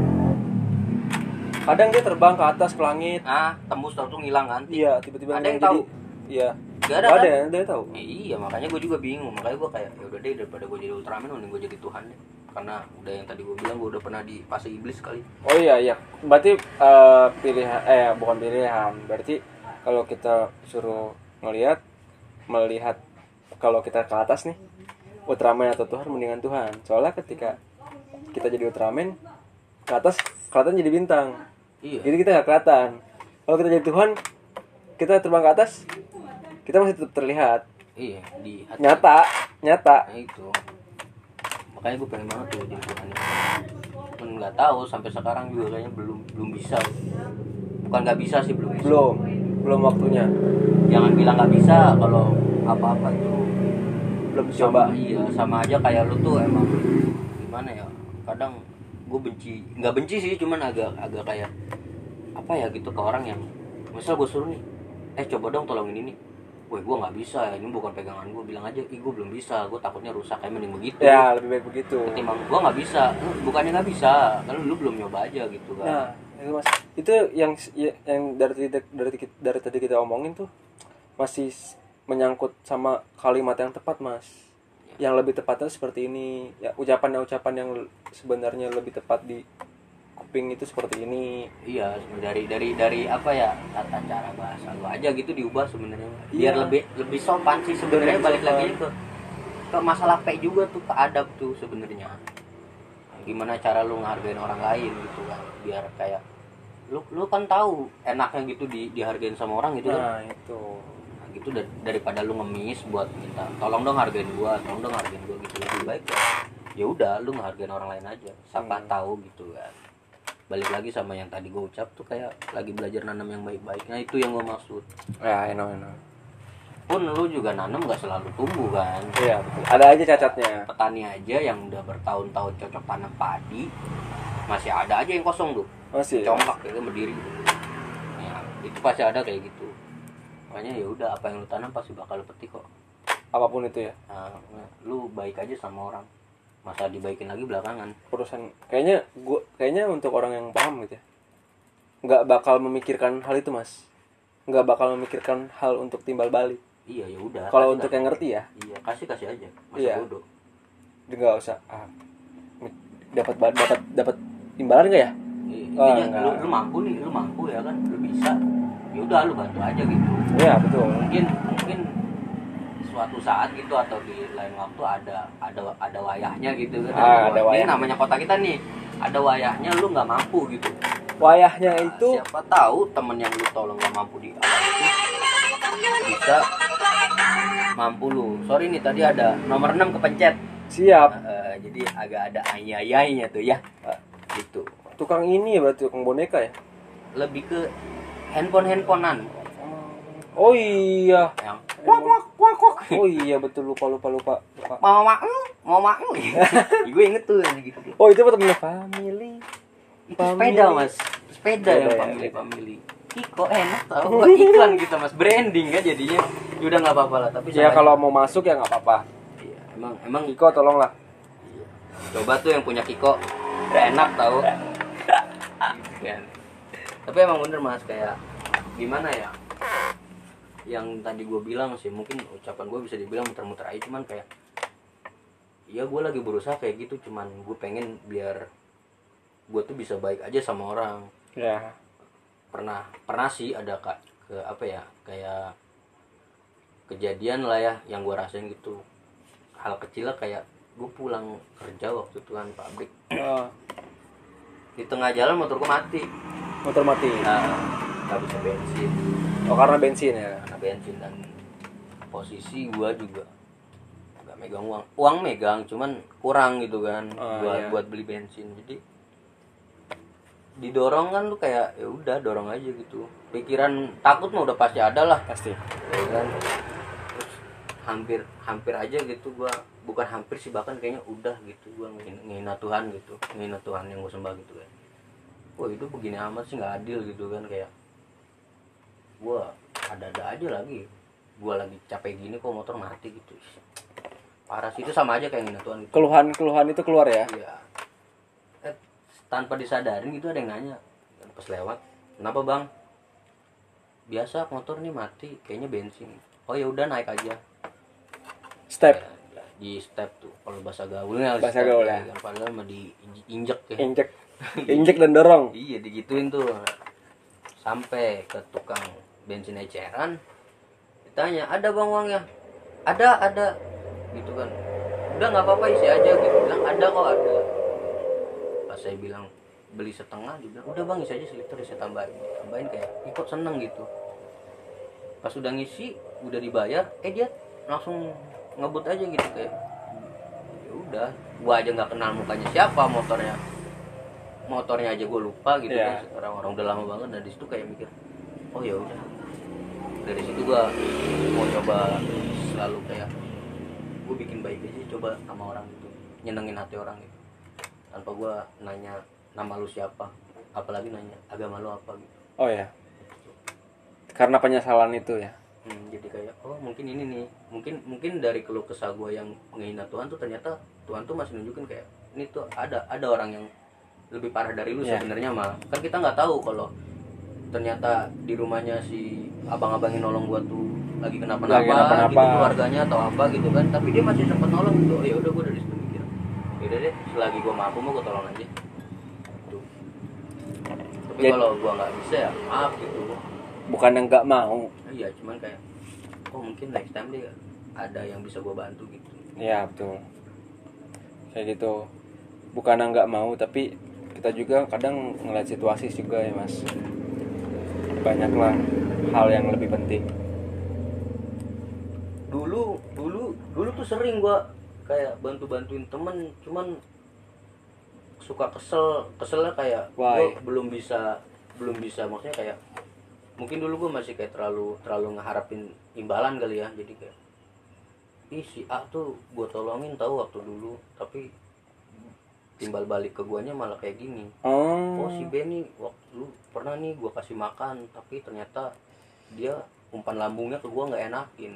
[SPEAKER 1] Kadang dia terbang ke atas ke langit.
[SPEAKER 2] ah tembus lalu tuh ngilang kan
[SPEAKER 1] Iya tiba-tiba
[SPEAKER 2] Ada yang
[SPEAKER 1] ngilang.
[SPEAKER 2] tahu?
[SPEAKER 1] Jadi- Iya.
[SPEAKER 2] Gak ada,
[SPEAKER 1] Nggak
[SPEAKER 2] kan?
[SPEAKER 1] yang- ada yang tahu.
[SPEAKER 2] Ya iya makanya gue juga bingung makanya gue kayak ya udah deh daripada gue jadi Ultraman mending gue jadi Tuhan deh karena udah yang tadi gue bilang gue udah pernah di fase iblis kali
[SPEAKER 1] Oh iya iya. Berarti eh, pilihan eh bukan pilihan. Berarti kalau kita suruh ngelihat melihat kalau kita ke atas nih Ultraman atau Tuhan mendingan Tuhan. Soalnya ketika kita jadi Ultraman ke atas kelihatan jadi bintang.
[SPEAKER 2] iya
[SPEAKER 1] Jadi kita nggak kelihatan. Kalau kita jadi Tuhan kita terbang ke atas kita masih tetap terlihat
[SPEAKER 2] Iya, di hati
[SPEAKER 1] nyata nyata
[SPEAKER 2] Nah, itu. Makanya gue pengen banget tuh jadi Tuhan. Cuman nggak tahu sampai sekarang juga kayaknya belum belum bisa. Bukan nggak bisa sih belum. bisa.
[SPEAKER 1] belum belum waktunya
[SPEAKER 2] Jangan bilang nggak bisa kalau apa-apa tuh
[SPEAKER 1] belum coba
[SPEAKER 2] iya sama aja kayak lu tuh emang gimana ya kadang gue benci nggak benci sih cuman agak agak kayak apa ya gitu ke orang yang misal gue suruh nih eh coba dong tolongin ini Woi gue nggak bisa ya, ini bukan pegangan gue bilang aja ih gue belum bisa gue takutnya rusak kayak mending begitu
[SPEAKER 1] ya lebih baik begitu
[SPEAKER 2] ketimbang gue nggak bisa Lu bukannya nggak bisa kalau lu belum nyoba aja gitu kan
[SPEAKER 1] Nah, itu mas, itu yang ya- yang dari tadi dari, tadi- dari tadi kita omongin tuh masih s- menyangkut sama kalimat yang tepat mas. Yang lebih tepatnya seperti ini, ya ucapan-ucapan yang l- sebenarnya lebih tepat di kuping itu seperti ini.
[SPEAKER 2] iya dari dari dari apa ya tata cara bahasa lu aja gitu diubah sebenarnya biar
[SPEAKER 1] Iya.
[SPEAKER 2] lebih lebih sopan sih sebenarnya
[SPEAKER 1] Lebih
[SPEAKER 2] balik
[SPEAKER 1] sopan.
[SPEAKER 2] lagi ke ke masalah pe juga tuh ke adab tuh sebenarnya gimana cara lu ngehargain orang lain gitu kan biar kayak lu lu kan tahu enaknya gitu di dihargain sama orang gitu kan
[SPEAKER 1] Nah itu,
[SPEAKER 2] Nah, gitu dar- daripada lu ngemis buat minta tolong dong hargain gua tolong dong hargain gua gitu lebih baik ya ya udah lu ngehargain orang lain aja siapa tahu gitu kan balik lagi sama yang tadi gua ucap tuh kayak lagi belajar nanam yang baik-baik nah itu yang gua maksud
[SPEAKER 1] ya eno eno.
[SPEAKER 2] pun lu juga nanam gak selalu tumbuh kan
[SPEAKER 1] Iya betul. Ada aja cacatnya.
[SPEAKER 2] petani aja yang udah bertahun-tahun cocok tanam padi masih ada aja yang kosong tuh
[SPEAKER 1] Masih.
[SPEAKER 2] congkak gitu berdiri ya, itu pasti ada kayak gitu makanya ya udah apa yang lu tanam pasti bakal lu petik kok
[SPEAKER 1] Apapun itu ya.
[SPEAKER 2] Nah, lu baik aja sama orang masa dibaikin lagi belakangan
[SPEAKER 1] Urusan kayaknya gua kayaknya untuk orang yang paham gitu ya. Nggak bakal memikirkan hal itu mas. Nggak bakal memikirkan hal untuk timbal balik.
[SPEAKER 2] iya ya udah
[SPEAKER 1] Kalau
[SPEAKER 2] kasih
[SPEAKER 1] untuk
[SPEAKER 2] kasih.
[SPEAKER 1] yang ngerti ya,
[SPEAKER 2] iya kasih kasih aja masa
[SPEAKER 1] Iya.
[SPEAKER 2] bodoh
[SPEAKER 1] dia nggak usah ah, dapat ba- dapat dapat imbalan nggak ya?
[SPEAKER 2] Iya,
[SPEAKER 1] Oh,
[SPEAKER 2] intinya
[SPEAKER 1] enggak.
[SPEAKER 2] lu, lu mampu nih lu mampu ya kan lu bisa ya udah lu bantu aja gitu
[SPEAKER 1] Iya betul.
[SPEAKER 2] mungkin mungkin suatu saat gitu atau di lain waktu ada ada ada wayahnya gitu kan
[SPEAKER 1] Ah, ada
[SPEAKER 2] wayah.
[SPEAKER 1] wayah.
[SPEAKER 2] ini namanya kota kita nih ada wayahnya lu nggak mampu gitu
[SPEAKER 1] Wayahnya
[SPEAKER 2] Nah,
[SPEAKER 1] itu
[SPEAKER 2] siapa tahu temen yang lu tolong gak mampu di awal itu bisa mampu lu sorry nih tadi ada nomor 6 kepencet
[SPEAKER 1] siap.
[SPEAKER 2] Nah, eh, jadi agak ada ayayanya tuh ya Eh, gitu
[SPEAKER 1] Tukang ini ya berarti tukang boneka ya?
[SPEAKER 2] lebih ke handphone handphonean
[SPEAKER 1] Oh iya.
[SPEAKER 2] yang
[SPEAKER 1] Wak wak Oh iya betul lupa lupa lupa. lupa.
[SPEAKER 2] mau mau mau mau
[SPEAKER 1] *laughs*
[SPEAKER 2] gue inget tuh yang gitu
[SPEAKER 1] Oh itu apa temennya family.
[SPEAKER 2] itu
[SPEAKER 1] Pamili.
[SPEAKER 2] sepeda mas sepeda yang
[SPEAKER 1] Sepeda ya.
[SPEAKER 2] pamili pamili Iko enak tau Wah, iklan gitu mas branding kan jadinya Ya udah nggak apa-apa lah tapi
[SPEAKER 1] Ya
[SPEAKER 2] sama-
[SPEAKER 1] kalau mau masuk ya nggak apa-apa.
[SPEAKER 2] Iya, emang emang
[SPEAKER 1] Iko tolonglah.
[SPEAKER 2] coba tuh yang punya Kiko Gak enak tau Gitu kan. tapi emang bener mas kayak gimana ya yang tadi gue bilang sih mungkin ucapan gue bisa dibilang muter-muter aja cuman kayak ya gue lagi berusaha kayak gitu cuman gue pengen biar gue tuh bisa baik aja sama orang
[SPEAKER 1] ya
[SPEAKER 2] pernah pernah sih ada kak ke apa ya kayak kejadian lah ya yang gue rasain gitu hal kecil lah kayak gue pulang kerja waktu itu kan pabrik
[SPEAKER 1] Eh,
[SPEAKER 2] di tengah jalan motor gue mati
[SPEAKER 1] motor mati
[SPEAKER 2] nah, nggak bisa bensin
[SPEAKER 1] oh karena bensin ya
[SPEAKER 2] karena bensin dan posisi gue juga nggak megang uang uang megang cuman kurang gitu kan
[SPEAKER 1] Oh,
[SPEAKER 2] buat
[SPEAKER 1] iya.
[SPEAKER 2] buat beli bensin jadi didorong kan lu kayak ya udah dorong aja gitu pikiran takut mah udah pasti ada lah
[SPEAKER 1] pasti
[SPEAKER 2] ya kan terus hampir hampir aja gitu gua bukan hampir sih bahkan kayaknya udah gitu gua ngehina, ngehina Tuhan gitu ngehina Tuhan yang gua sembah gitu kan wah itu begini amat sih nggak adil gitu kan kayak gua ada-ada aja lagi gua lagi capek gini kok motor mati gitu Ih, parah sih itu sama aja kayak ngehina Tuhan gitu
[SPEAKER 1] keluhan keluhan itu keluar ya
[SPEAKER 2] Iya. Eh, tanpa disadarin gitu ada yang nanya pas lewat kenapa bang biasa motor nih mati kayaknya bensin oh ya udah naik aja
[SPEAKER 1] step
[SPEAKER 2] Ya, di step tuh kalau bahasa gaulnya di
[SPEAKER 1] Bahasa
[SPEAKER 2] step,
[SPEAKER 1] gaul, ya.
[SPEAKER 2] ya. padahal mah diinjek ya
[SPEAKER 1] injek injek dan dorong
[SPEAKER 2] iya digituin tuh sampai ke tukang bensin eceran ditanya ada bang uangnya ada ada gitu kan udah nggak apa-apa isi aja gitu bilang ada kok ada pas saya bilang beli setengah dia bilang udah bang isi aja seliter saya tambahin tambahin kayak "Ih, kok seneng gitu pas udah ngisi udah dibayar eh dia langsung ngebut aja gitu kayak ya udah gua aja nggak kenal mukanya siapa motornya motornya aja gua lupa gitu
[SPEAKER 1] Iya.
[SPEAKER 2] kan orang-orang udah lama banget dan disitu kayak mikir oh ya udah dari situ gua mau coba selalu kayak gue bikin baik aja coba sama orang gitu nyenengin hati orang gitu tanpa gua nanya nama lu siapa apalagi nanya agama lu apa gitu
[SPEAKER 1] oh ya karena penyesalan itu ya
[SPEAKER 2] Hmm, jadi kayak oh mungkin ini nih mungkin mungkin dari keluh kesah gue yang menghina Tuhan tuh ternyata Tuhan tuh masih nunjukin kayak ini tuh ada ada orang yang lebih parah dari lu
[SPEAKER 1] Iya.
[SPEAKER 2] sebenarnya mah kan kita nggak tahu kalau ternyata di rumahnya si abang-abang yang nolong gua tuh lagi kenapa-napa,
[SPEAKER 1] Lagi kenapa-napa.
[SPEAKER 2] gitu keluarganya atau apa gitu kan tapi dia masih sempet nolong gitu oh, ya udah gue dari situ mikir yaudah deh selagi gue mampu mau gue tolong aja Tuh. tapi
[SPEAKER 1] Jadi-
[SPEAKER 2] kalau gua nggak bisa ya maaf gitu
[SPEAKER 1] bukan yang nggak mau
[SPEAKER 2] Iya, cuman kayak oh mungkin next time dia ada yang bisa gue bantu gitu.
[SPEAKER 1] ya betul kayak gitu bukan yang nggak mau tapi kita juga kadang ngeliat situasi juga ya mas banyaklah hal yang lebih penting
[SPEAKER 2] Dulu dulu dulu tuh sering gue kayak bantu-bantuin temen, cuman suka kesel keselnya kayak
[SPEAKER 1] Why?
[SPEAKER 2] gue belum bisa belum bisa maksudnya kayak mungkin dulu gue masih kayak terlalu terlalu ngeharapin imbalan kali ya jadi kayak ih si A tuh gue tolongin tahu waktu dulu tapi timbal balik ke guanya malah kayak gini
[SPEAKER 1] oh,
[SPEAKER 2] oh si B nih waktu dulu pernah nih gua kasih makan tapi ternyata dia umpan lambungnya ke gua nggak enakin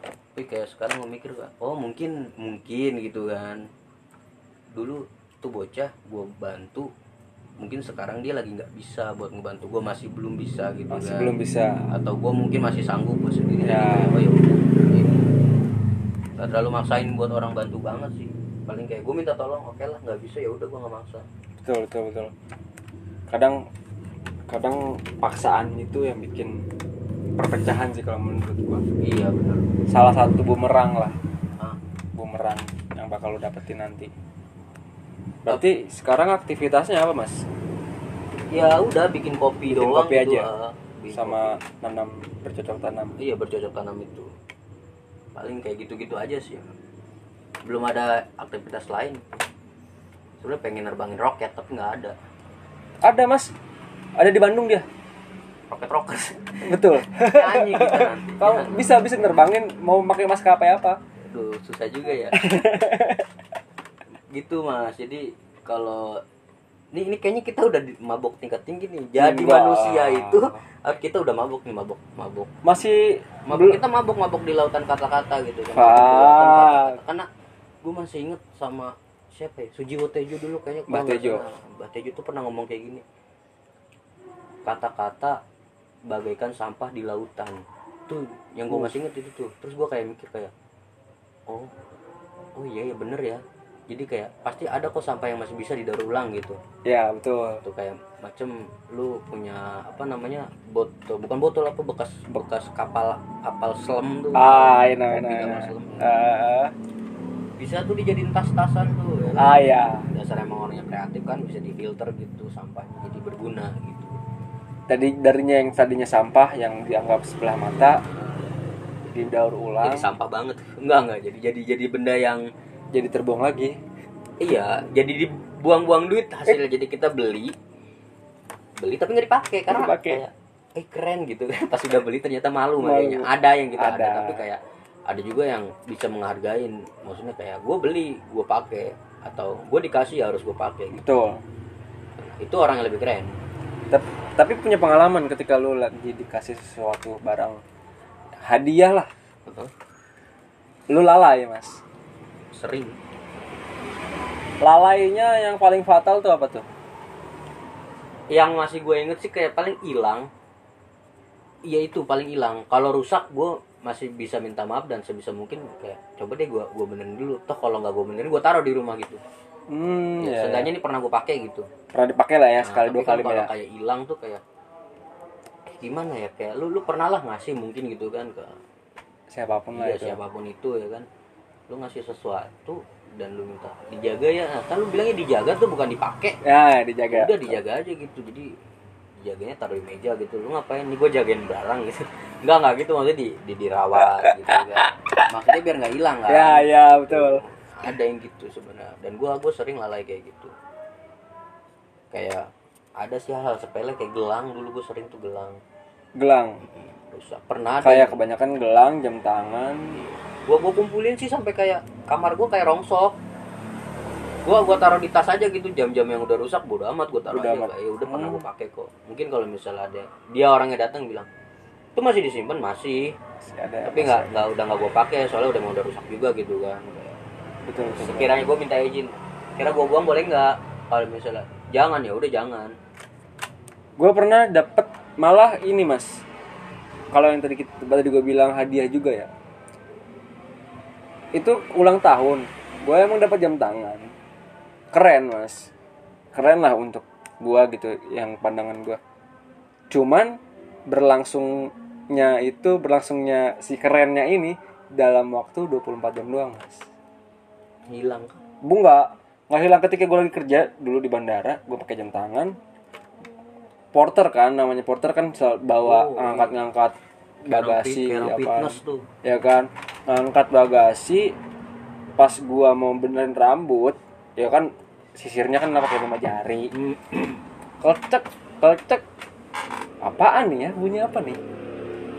[SPEAKER 2] tapi kayak sekarang gua mikir kan oh mungkin mungkin gitu kan dulu tuh bocah gua bantu mungkin sekarang dia lagi nggak bisa buat ngebantu gua masih belum bisa gitu
[SPEAKER 1] masih
[SPEAKER 2] kan
[SPEAKER 1] belum bisa
[SPEAKER 2] atau gue mungkin masih sanggup gue sendiri
[SPEAKER 1] Ya.
[SPEAKER 2] oh ya udah Gitu. Nggak terlalu maksain buat orang bantu banget sih paling kayak gue minta tolong oke lah nggak bisa ya udah gue nggak maksa
[SPEAKER 1] betul betul betul kadang kadang paksaan itu yang bikin perpecahan sih kalau menurut gua
[SPEAKER 2] iya benar
[SPEAKER 1] salah satu bumerang lah
[SPEAKER 2] Ah,
[SPEAKER 1] bumerang yang bakal lo dapetin nanti berarti sekarang aktivitasnya apa mas
[SPEAKER 2] ya udah bikin kopi
[SPEAKER 1] Bikin
[SPEAKER 2] doang
[SPEAKER 1] kopi aja.
[SPEAKER 2] gitu, ah. Bikin
[SPEAKER 1] sama nanam bercocok tanam
[SPEAKER 2] kopi. iya bercocok tanam itu paling kayak gitu-gitu aja sih belum ada aktivitas lain sebenarnya pengen nerbangin roket tapi nggak ada
[SPEAKER 1] ada mas ada di Bandung dia
[SPEAKER 2] roket
[SPEAKER 1] *laughs*
[SPEAKER 2] rockers
[SPEAKER 1] betul
[SPEAKER 2] nyanyi kita nanti
[SPEAKER 1] kalau bisa bisa nerbangin mau pakai maskapai apa
[SPEAKER 2] Aduh, susah juga
[SPEAKER 1] *laughs*
[SPEAKER 2] ya. gitu Mas. Jadi kalau ini ini kayaknya kita udah di- mabok tingkat tinggi nih. Jadi
[SPEAKER 1] Enggak.
[SPEAKER 2] manusia itu ah, kita udah mabok nih, mabok, mabok.
[SPEAKER 1] masih
[SPEAKER 2] Mabok
[SPEAKER 1] belum
[SPEAKER 2] kita mabok mabok di lautan kata-kata gitu. kan.
[SPEAKER 1] Fuck.
[SPEAKER 2] Mabok di lautan kata-kata. Karena gue masih inget sama siapa ya Sujiwo Tejo dulu kayaknya
[SPEAKER 1] Mbah
[SPEAKER 2] kalau nggak
[SPEAKER 1] Tejo.
[SPEAKER 2] salah. Mbah Tejo tuh pernah ngomong kayak gini kata-kata bagaikan sampah di lautan tuh yang
[SPEAKER 1] Uh.
[SPEAKER 2] gue masih inget itu tuh terus gue kayak mikir kayak oh oh iya ya bener ya jadi kayak pasti ada kok sampah yang masih bisa didaur ulang gitu
[SPEAKER 1] ya betul
[SPEAKER 2] tuh kayak macem lu punya apa namanya botol bukan botol apa bekas bekas kapal kapal selam tuh
[SPEAKER 1] ah enak
[SPEAKER 2] Kopi
[SPEAKER 1] enak
[SPEAKER 2] kapal
[SPEAKER 1] enak.
[SPEAKER 2] selam.
[SPEAKER 1] Ah,
[SPEAKER 2] bisa tuh dijadiin tas-tasan tuh ya kan?
[SPEAKER 1] ah ya
[SPEAKER 2] dasar emang orangnya kreatif kan bisa difilter gitu sampahnya jadi berguna gitu
[SPEAKER 1] tadi darinya yang tadinya sampah yang dianggap sebelah mata didaur ulang
[SPEAKER 2] jadi sampah banget enggak enggak jadi jadi jadi benda yang
[SPEAKER 1] jadi terbuang lagi
[SPEAKER 2] iya jadi dibuang-buang duit hasilnya jadi kita beli beli tapi nggak dipakai karena
[SPEAKER 1] dipakai.
[SPEAKER 2] kayak eh keren gitu *laughs* pas udah beli ternyata malu
[SPEAKER 1] Malu.
[SPEAKER 2] makanya ada yang kita ada.
[SPEAKER 1] Ada.
[SPEAKER 2] tapi kayak ada juga yang bisa menghargain maksudnya kayak gue beli gue pakai atau gue dikasih ya harus gue pakai gitu
[SPEAKER 1] betul
[SPEAKER 2] itu orang yang lebih keren
[SPEAKER 1] Tep- tapi punya pengalaman ketika lu lagi dikasih sesuatu barang hadiah lah
[SPEAKER 2] Betul.
[SPEAKER 1] lu lalai mas
[SPEAKER 2] sering
[SPEAKER 1] lalainya yang paling fatal tuh apa tuh
[SPEAKER 2] yang masih gue inget sih kayak paling hilang iya itu paling hilang kalau rusak gue masih bisa minta maaf dan sebisa mungkin kayak coba deh gue gue benerin dulu toh kalau nggak gue benerin gue taruh di rumah gitu
[SPEAKER 1] hmm ya,
[SPEAKER 2] ya,
[SPEAKER 1] ya.
[SPEAKER 2] seenggaknya ini pernah gue pakai gitu
[SPEAKER 1] pernah dipakai lah ya
[SPEAKER 2] Nah,
[SPEAKER 1] sekali
[SPEAKER 2] tapi
[SPEAKER 1] dua
[SPEAKER 2] kan
[SPEAKER 1] kali
[SPEAKER 2] kalau
[SPEAKER 1] ya
[SPEAKER 2] kayak hilang tuh kayak eh, gimana ya kayak lu lu pernah lah ngasih mungkin gitu kan ke
[SPEAKER 1] siapapun lah
[SPEAKER 2] iya,
[SPEAKER 1] itu
[SPEAKER 2] siapapun itu ya kan lu ngasih sesuatu dan lu minta dijaga ya Nah, kan lu bilangnya dijaga tuh bukan dipakai
[SPEAKER 1] ya dijaga
[SPEAKER 2] udah dijaga aja gitu jadi jaganya taruh di meja gitu lu ngapain nih gue jagain barang gitu enggak enggak gitu maksudnya di, di dirawat gitu kan maksudnya biar nggak hilang kan
[SPEAKER 1] ya ya betul
[SPEAKER 2] ada yang gitu sebenarnya dan gue gue sering lalai kayak gitu kayak ada sih hal, -hal sepele kayak gelang dulu gue sering tuh gelang
[SPEAKER 1] gelang
[SPEAKER 2] Hmm, rusak pernah ada
[SPEAKER 1] kayak kebanyakan gelang jam tangan
[SPEAKER 2] gue gue kumpulin sih sampai kayak kamar gue kayak rongsok gue gua taruh di tas aja gitu jam-jam yang udah rusak bodo amat gue taruh
[SPEAKER 1] Bodo
[SPEAKER 2] aja
[SPEAKER 1] amat. Hmm.
[SPEAKER 2] kayak "Ya udah pernah gue pakai kok mungkin kalau misalnya ada dia orangnya datang bilang itu masih disimpan masih
[SPEAKER 1] Masih ada
[SPEAKER 2] tapi nggak nggak udah nggak gue pakai soalnya udah mau udah rusak juga gitu kan
[SPEAKER 1] betul betul, betul.
[SPEAKER 2] sekiranya gue minta izin kira gue buang boleh nggak kalau misalnya jangan ya udah jangan
[SPEAKER 1] gue pernah dapet malah ini mas kalau yang tadi kita tadi gue bilang hadiah juga ya itu ulang tahun gue emang dapat jam tangan keren mas keren lah untuk gue gitu yang pandangan gue cuman berlangsungnya itu berlangsungnya si kerennya ini dalam waktu 24 jam doang mas
[SPEAKER 2] hilang
[SPEAKER 1] gue nggak nggak hilang ketika gue lagi kerja dulu di bandara gue pakai jam tangan porter kan namanya porter kan sel- bawa
[SPEAKER 2] Oh,
[SPEAKER 1] ngangkat ngangkat bagasi
[SPEAKER 2] Kayak orang
[SPEAKER 1] apa
[SPEAKER 2] fitness tuh
[SPEAKER 1] ya kan ngangkat bagasi pas gua mau benerin rambut ya kan sisirnya kan pakai lima jari
[SPEAKER 2] Hmm.
[SPEAKER 1] klecek klecek apaan nih ya bunyi apa nih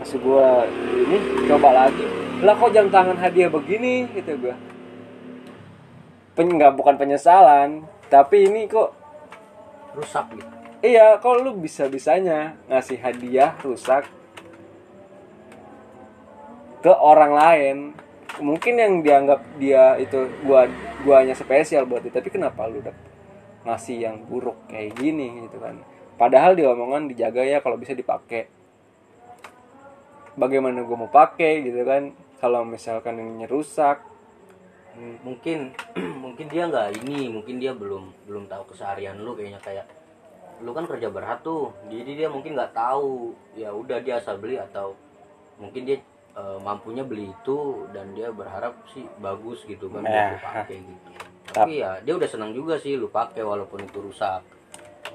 [SPEAKER 1] pas gua ini coba lagi lah kok jam tangan hadiah begini gitu gua Pen, nggak bukan penyesalan tapi ini kok
[SPEAKER 2] rusak gitu
[SPEAKER 1] iya kok lu bisa bisanya ngasih hadiah rusak ke orang lain mungkin yang dianggap dia itu gua guanya spesial buat dia tapi kenapa lu dap ngasih yang buruk kayak gini gitu kan padahal di omongan dijaga ya kalau bisa dipakai bagaimana gua mau pakai gitu kan kalau misalkan ini rusak
[SPEAKER 2] mungkin *clears throat* mungkin dia nggak ini mungkin dia belum belum tahu keseharian lu kayaknya kayak lu kan kerja berat tuh jadi dia mungkin nggak tahu ya udah dia asal beli atau mungkin dia eh, mampunya beli itu dan dia berharap sih bagus gitu kan buat
[SPEAKER 1] Nah.
[SPEAKER 2] lu pakai
[SPEAKER 1] *laughs*
[SPEAKER 2] gitu tapi ya dia udah senang juga sih lu pakai walaupun itu rusak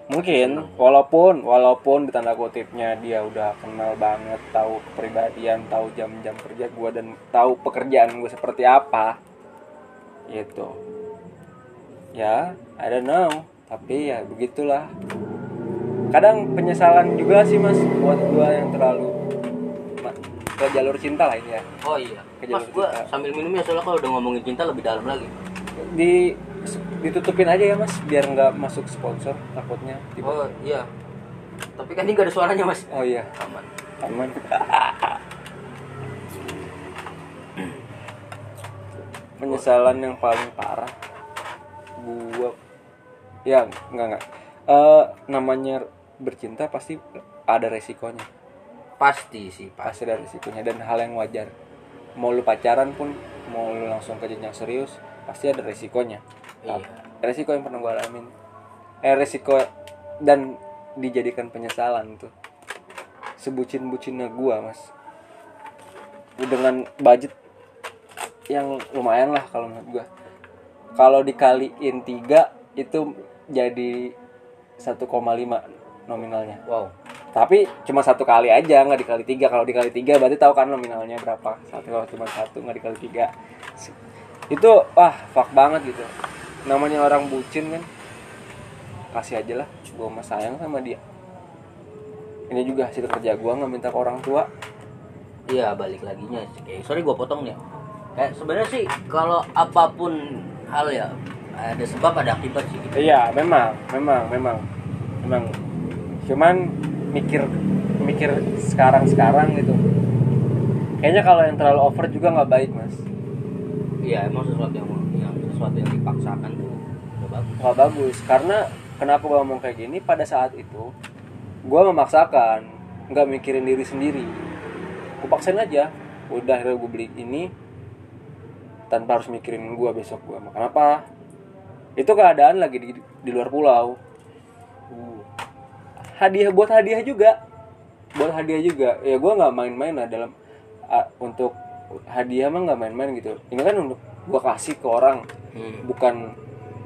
[SPEAKER 1] mungkin walaupun walaupun di tanda kutipnya dia udah kenal banget tahu kepribadian tahu jam-jam kerja gua dan tahu pekerjaan gue seperti apa gitu ya I don't know tapi ya begitulah kadang penyesalan juga sih mas buat gua yang terlalu ma- ke jalur cinta lah ini ya
[SPEAKER 2] oh iya
[SPEAKER 1] Kejadian
[SPEAKER 2] mas gua
[SPEAKER 1] kita.
[SPEAKER 2] sambil minum ya soalnya kalau udah ngomongin cinta lebih dalam lagi
[SPEAKER 1] di ditutupin aja ya mas biar nggak masuk sponsor takutnya
[SPEAKER 2] oh iya tapi kan ini gak ada suaranya mas
[SPEAKER 1] oh iya
[SPEAKER 2] aman
[SPEAKER 1] aman penyesalan yang paling parah gua ya nggak nggak Eh, namanya bercinta pasti ada resikonya
[SPEAKER 2] pasti sih pasti
[SPEAKER 1] pasti ada resikonya dan hal yang wajar mau lu pacaran pun mau lu langsung ke jenjang serius pasti ada resikonya Nah,
[SPEAKER 2] Iya.
[SPEAKER 1] resiko yang pernah gue alamin eh resiko dan dijadikan penyesalan tuh sebucin bucinnya gua mas dengan budget yang lumayan lah kalau menurut gua kalau dikaliin tiga itu jadi 1,5 nominalnya
[SPEAKER 2] wow
[SPEAKER 1] tapi cuma satu kali aja nggak dikali tiga kalau dikali tiga berarti tahu kan nominalnya berapa satu kalau cuma satu nggak dikali tiga itu wah fuck banget gitu namanya orang bucin kan kasih aja lah gue mah sayang sama dia ini juga hasil kerja gue nggak minta ke orang tua
[SPEAKER 2] Iya balik lagi nya Eh, sorry gue potong nih. Kayak sebenarnya sih kalau apapun hal ya ada sebab ada akibat sih. gitu.
[SPEAKER 1] iya memang memang memang memang cuman mikir mikir sekarang sekarang gitu kayaknya kalau yang terlalu over juga nggak baik mas
[SPEAKER 2] Iya emang sesuatu yang, yang sesuatu yang dipaksakan tuh nggak bagus.
[SPEAKER 1] nggak bagus karena kenapa gue ngomong kayak gini pada saat itu gue memaksakan nggak mikirin diri sendiri gue paksain aja udah akhirnya gue beli ini tanpa harus mikirin gue besok gue makan apa itu keadaan lagi di, di luar pulau hadiah buat hadiah juga buat hadiah juga ya gue nggak main-main lah dalam ah, untuk hadiah mah nggak main-main gitu ini kan untuk gue kasih ke orang
[SPEAKER 2] Hmm.
[SPEAKER 1] bukan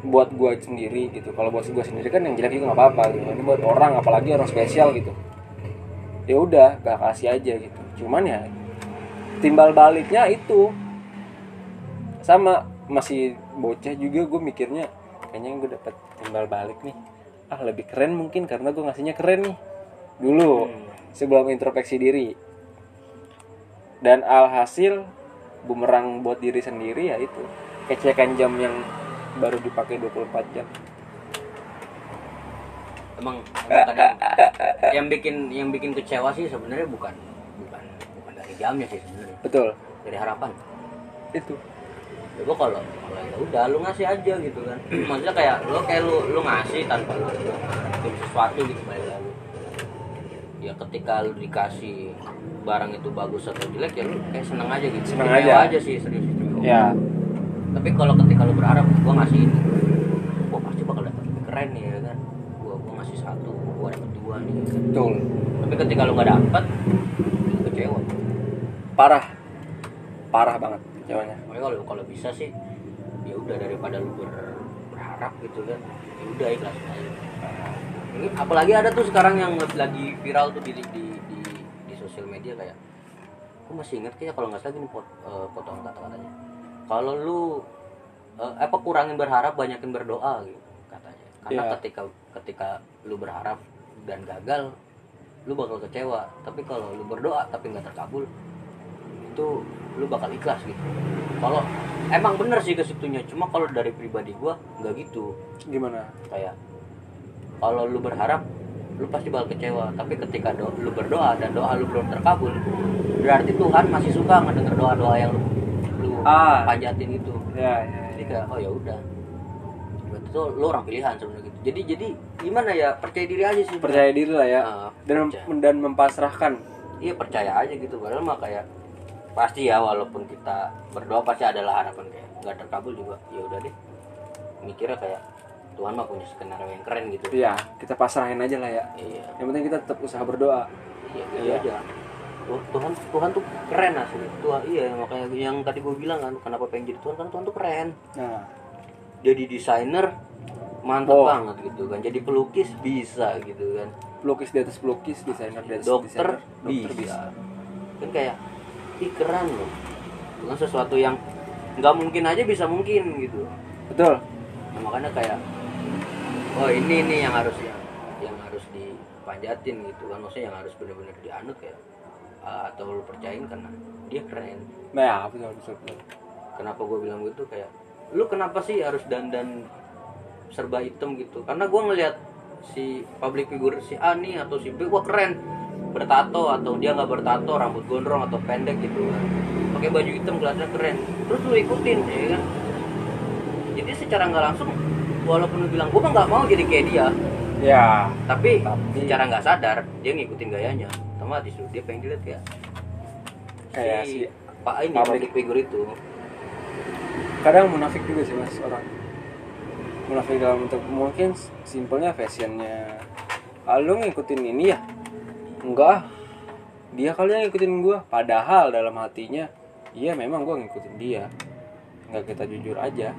[SPEAKER 1] buat gue sendiri gitu kalau buat gue sendiri kan yang jelek juga nggak apa-apa gitu ini buat orang apalagi orang spesial gitu ya udah gak kasih aja gitu cuman ya timbal baliknya itu sama masih bocah juga gue mikirnya kayaknya gue dapet timbal balik nih ah lebih keren mungkin karena gue ngasihnya keren nih dulu sebelum introspeksi diri dan alhasil bumerang buat diri sendiri ya itu kecekan jam yang baru dipakai 24 jam
[SPEAKER 2] Emang, emang kadang yang bikin yang bikin kecewa sih sebenarnya bukan bukan bukan dari jamnya sih sebenarnya
[SPEAKER 1] betul
[SPEAKER 2] dari harapan.
[SPEAKER 1] itu
[SPEAKER 2] Ya gue kalau kalau ya udah lu ngasih aja gitu kan. *clears throat* Maksudnya kayak lu kayak lu lu ngasih tanpa lu lu ngasih sesuatu gitu balik lagi. ya ketika lu dikasih barang itu bagus atau jelek ya lu kayak seneng aja gitu
[SPEAKER 1] Seneng
[SPEAKER 2] Kecewa
[SPEAKER 1] aja.
[SPEAKER 2] sih serius itu
[SPEAKER 1] ya
[SPEAKER 2] tapi kalau ketika lu berharap gua ngasih ini gua pasti bakal dapet lebih keren nih ya kan gua gua ngasih satu gua dapet dua nih ya kan.
[SPEAKER 1] betul
[SPEAKER 2] tapi ketika lu nggak dapet lu kecewa
[SPEAKER 1] parah parah banget kecewanya
[SPEAKER 2] ya. makanya kalau kalau bisa sih ya udah daripada lu ber- berharap gitu kan ya udah ikhlasin aja ini apalagi ada tuh sekarang yang lagi viral tuh di di di, di- di sosial media kayak aku masih ingat kayaknya kalau nggak salah gini pot, eh, potong kata-katanya kalau lu eh, apa kurangin berharap banyakin berdoa gitu katanya karena
[SPEAKER 1] Iya.
[SPEAKER 2] ketika ketika lu berharap dan gagal lu bakal kecewa tapi kalau lu berdoa tapi nggak terkabul itu lu bakal ikhlas gitu kalau emang bener sih ke situnya cuma kalau dari pribadi gua nggak gitu
[SPEAKER 1] gimana
[SPEAKER 2] kayak kalau lu berharap lu pasti bakal kecewa tapi ketika do- lu berdoa dan doa lu belum terkabul berarti Tuhan masih suka ngedenger doa-doa yang lu, lu
[SPEAKER 1] Ah.
[SPEAKER 2] panjatin itu
[SPEAKER 1] ya, ya,
[SPEAKER 2] jadi kayak oh ya udah berarti tuh lu orang pilihan sebenarnya gitu jadi jadi gimana ya percaya diri aja sih
[SPEAKER 1] percaya diri lah ya
[SPEAKER 2] Ah,
[SPEAKER 1] dan
[SPEAKER 2] percaya.
[SPEAKER 1] dan mempasrahkan
[SPEAKER 2] iya percaya aja gitu padahal mah kayak pasti ya walaupun kita berdoa pasti adalah harapan kayak nggak terkabul juga ya udah deh mikirnya kayak Tuhan mah punya skenario yang keren gitu
[SPEAKER 1] ya kita pasrahin aja lah ya
[SPEAKER 2] iya
[SPEAKER 1] yang penting kita tetap usaha berdoa
[SPEAKER 2] iya gitu
[SPEAKER 1] Iya.
[SPEAKER 2] aja Tuh- Tuhan Tuhan tuh keren asli Tuhan iya makanya yang tadi gue bilang kan kenapa pengen jadi Tuhan karena Tuhan tuh keren
[SPEAKER 1] nah
[SPEAKER 2] jadi desainer mantap
[SPEAKER 1] Oh.
[SPEAKER 2] banget gitu kan jadi pelukis bisa gitu kan
[SPEAKER 1] pelukis di atas pelukis desainer di atas
[SPEAKER 2] dokter,
[SPEAKER 1] desainer,
[SPEAKER 2] bisa.
[SPEAKER 1] dokter bisa
[SPEAKER 2] kan kayak ih keren loh bukan sesuatu yang nggak mungkin aja bisa mungkin gitu
[SPEAKER 1] betul
[SPEAKER 2] Nah, makanya kayak oh ini nih yang harus yang, yang harus dipanjatin gitu kan maksudnya yang harus benar-benar dianut ya Uh, atau lu percayain karena dia keren
[SPEAKER 1] nah ya, betul betul, betul.
[SPEAKER 2] kenapa gue bilang gitu kayak lu kenapa sih harus dandan serba hitam gitu karena gue ngelihat si public figure si A nih atau si B wah keren bertato atau dia nggak bertato rambut gondrong atau pendek gitu kan pakai baju hitam kelihatannya keren terus lu ikutin ya kan jadi secara nggak langsung walaupun lu bilang gue mah nggak mau jadi kayak dia
[SPEAKER 1] ya
[SPEAKER 2] tapi,
[SPEAKER 1] Tapi-
[SPEAKER 2] secara nggak sadar dia ngikutin gayanya otomatis lu dia pengen dilihat kayak
[SPEAKER 1] kayak si
[SPEAKER 2] pak ini
[SPEAKER 1] public.
[SPEAKER 2] public figure itu
[SPEAKER 1] kadang munafik juga sih mas orang munafik dalam bentuk mungkin simpelnya fashionnya ah, lu ngikutin ini ya enggak ah. dia kali yang ngikutin gua padahal dalam hatinya iya memang gua ngikutin dia nggak kita jujur aja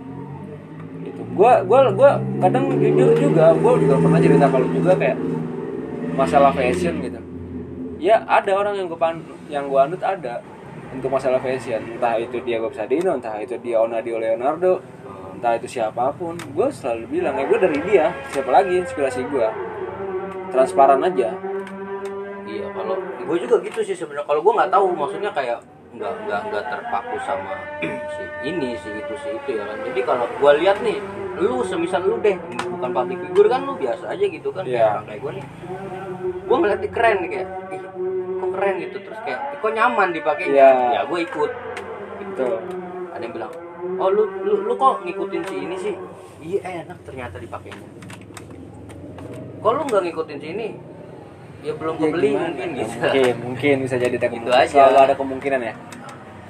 [SPEAKER 1] gitu gua gua gua kadang jujur juga gua juga pernah cerita kalau juga kayak masalah fashion gitu ya ada orang yang gue yang gua anut ada untuk masalah fashion entah itu dia Bob Sadino entah itu dia Onadio Leonardo entah itu siapapun gue selalu bilang ya gue dari dia siapa lagi inspirasi gue transparan aja
[SPEAKER 2] Iya kalau gue juga gitu sih sebenarnya kalau gue nggak tahu maksudnya kayak nggak nggak nggak terpaku sama si ini si itu si itu ya kan jadi kalau gue lihat nih lu semisal lu deh bukan public figure kan lu biasa aja gitu kan
[SPEAKER 1] Iya.
[SPEAKER 2] kayak orang kayak gue nih gue ngeliat dia keren nih, kayak ih kok keren gitu terus kayak "Ih, kok nyaman dipakai
[SPEAKER 1] Iya.
[SPEAKER 2] ya gue ikut
[SPEAKER 1] gitu
[SPEAKER 2] ada yang bilang oh lu lu, lu kok ngikutin si ini sih iya enak ternyata dipakainya kok lu nggak ngikutin si ini ya belum
[SPEAKER 1] Ya,
[SPEAKER 2] kebeli
[SPEAKER 1] gimana?
[SPEAKER 2] *laughs* mungkin
[SPEAKER 1] Ya,
[SPEAKER 2] gitu
[SPEAKER 1] mungkin mungkin bisa jadi ada
[SPEAKER 2] Gitu
[SPEAKER 1] kemungkinan
[SPEAKER 2] aja.
[SPEAKER 1] selalu ada kemungkinan ya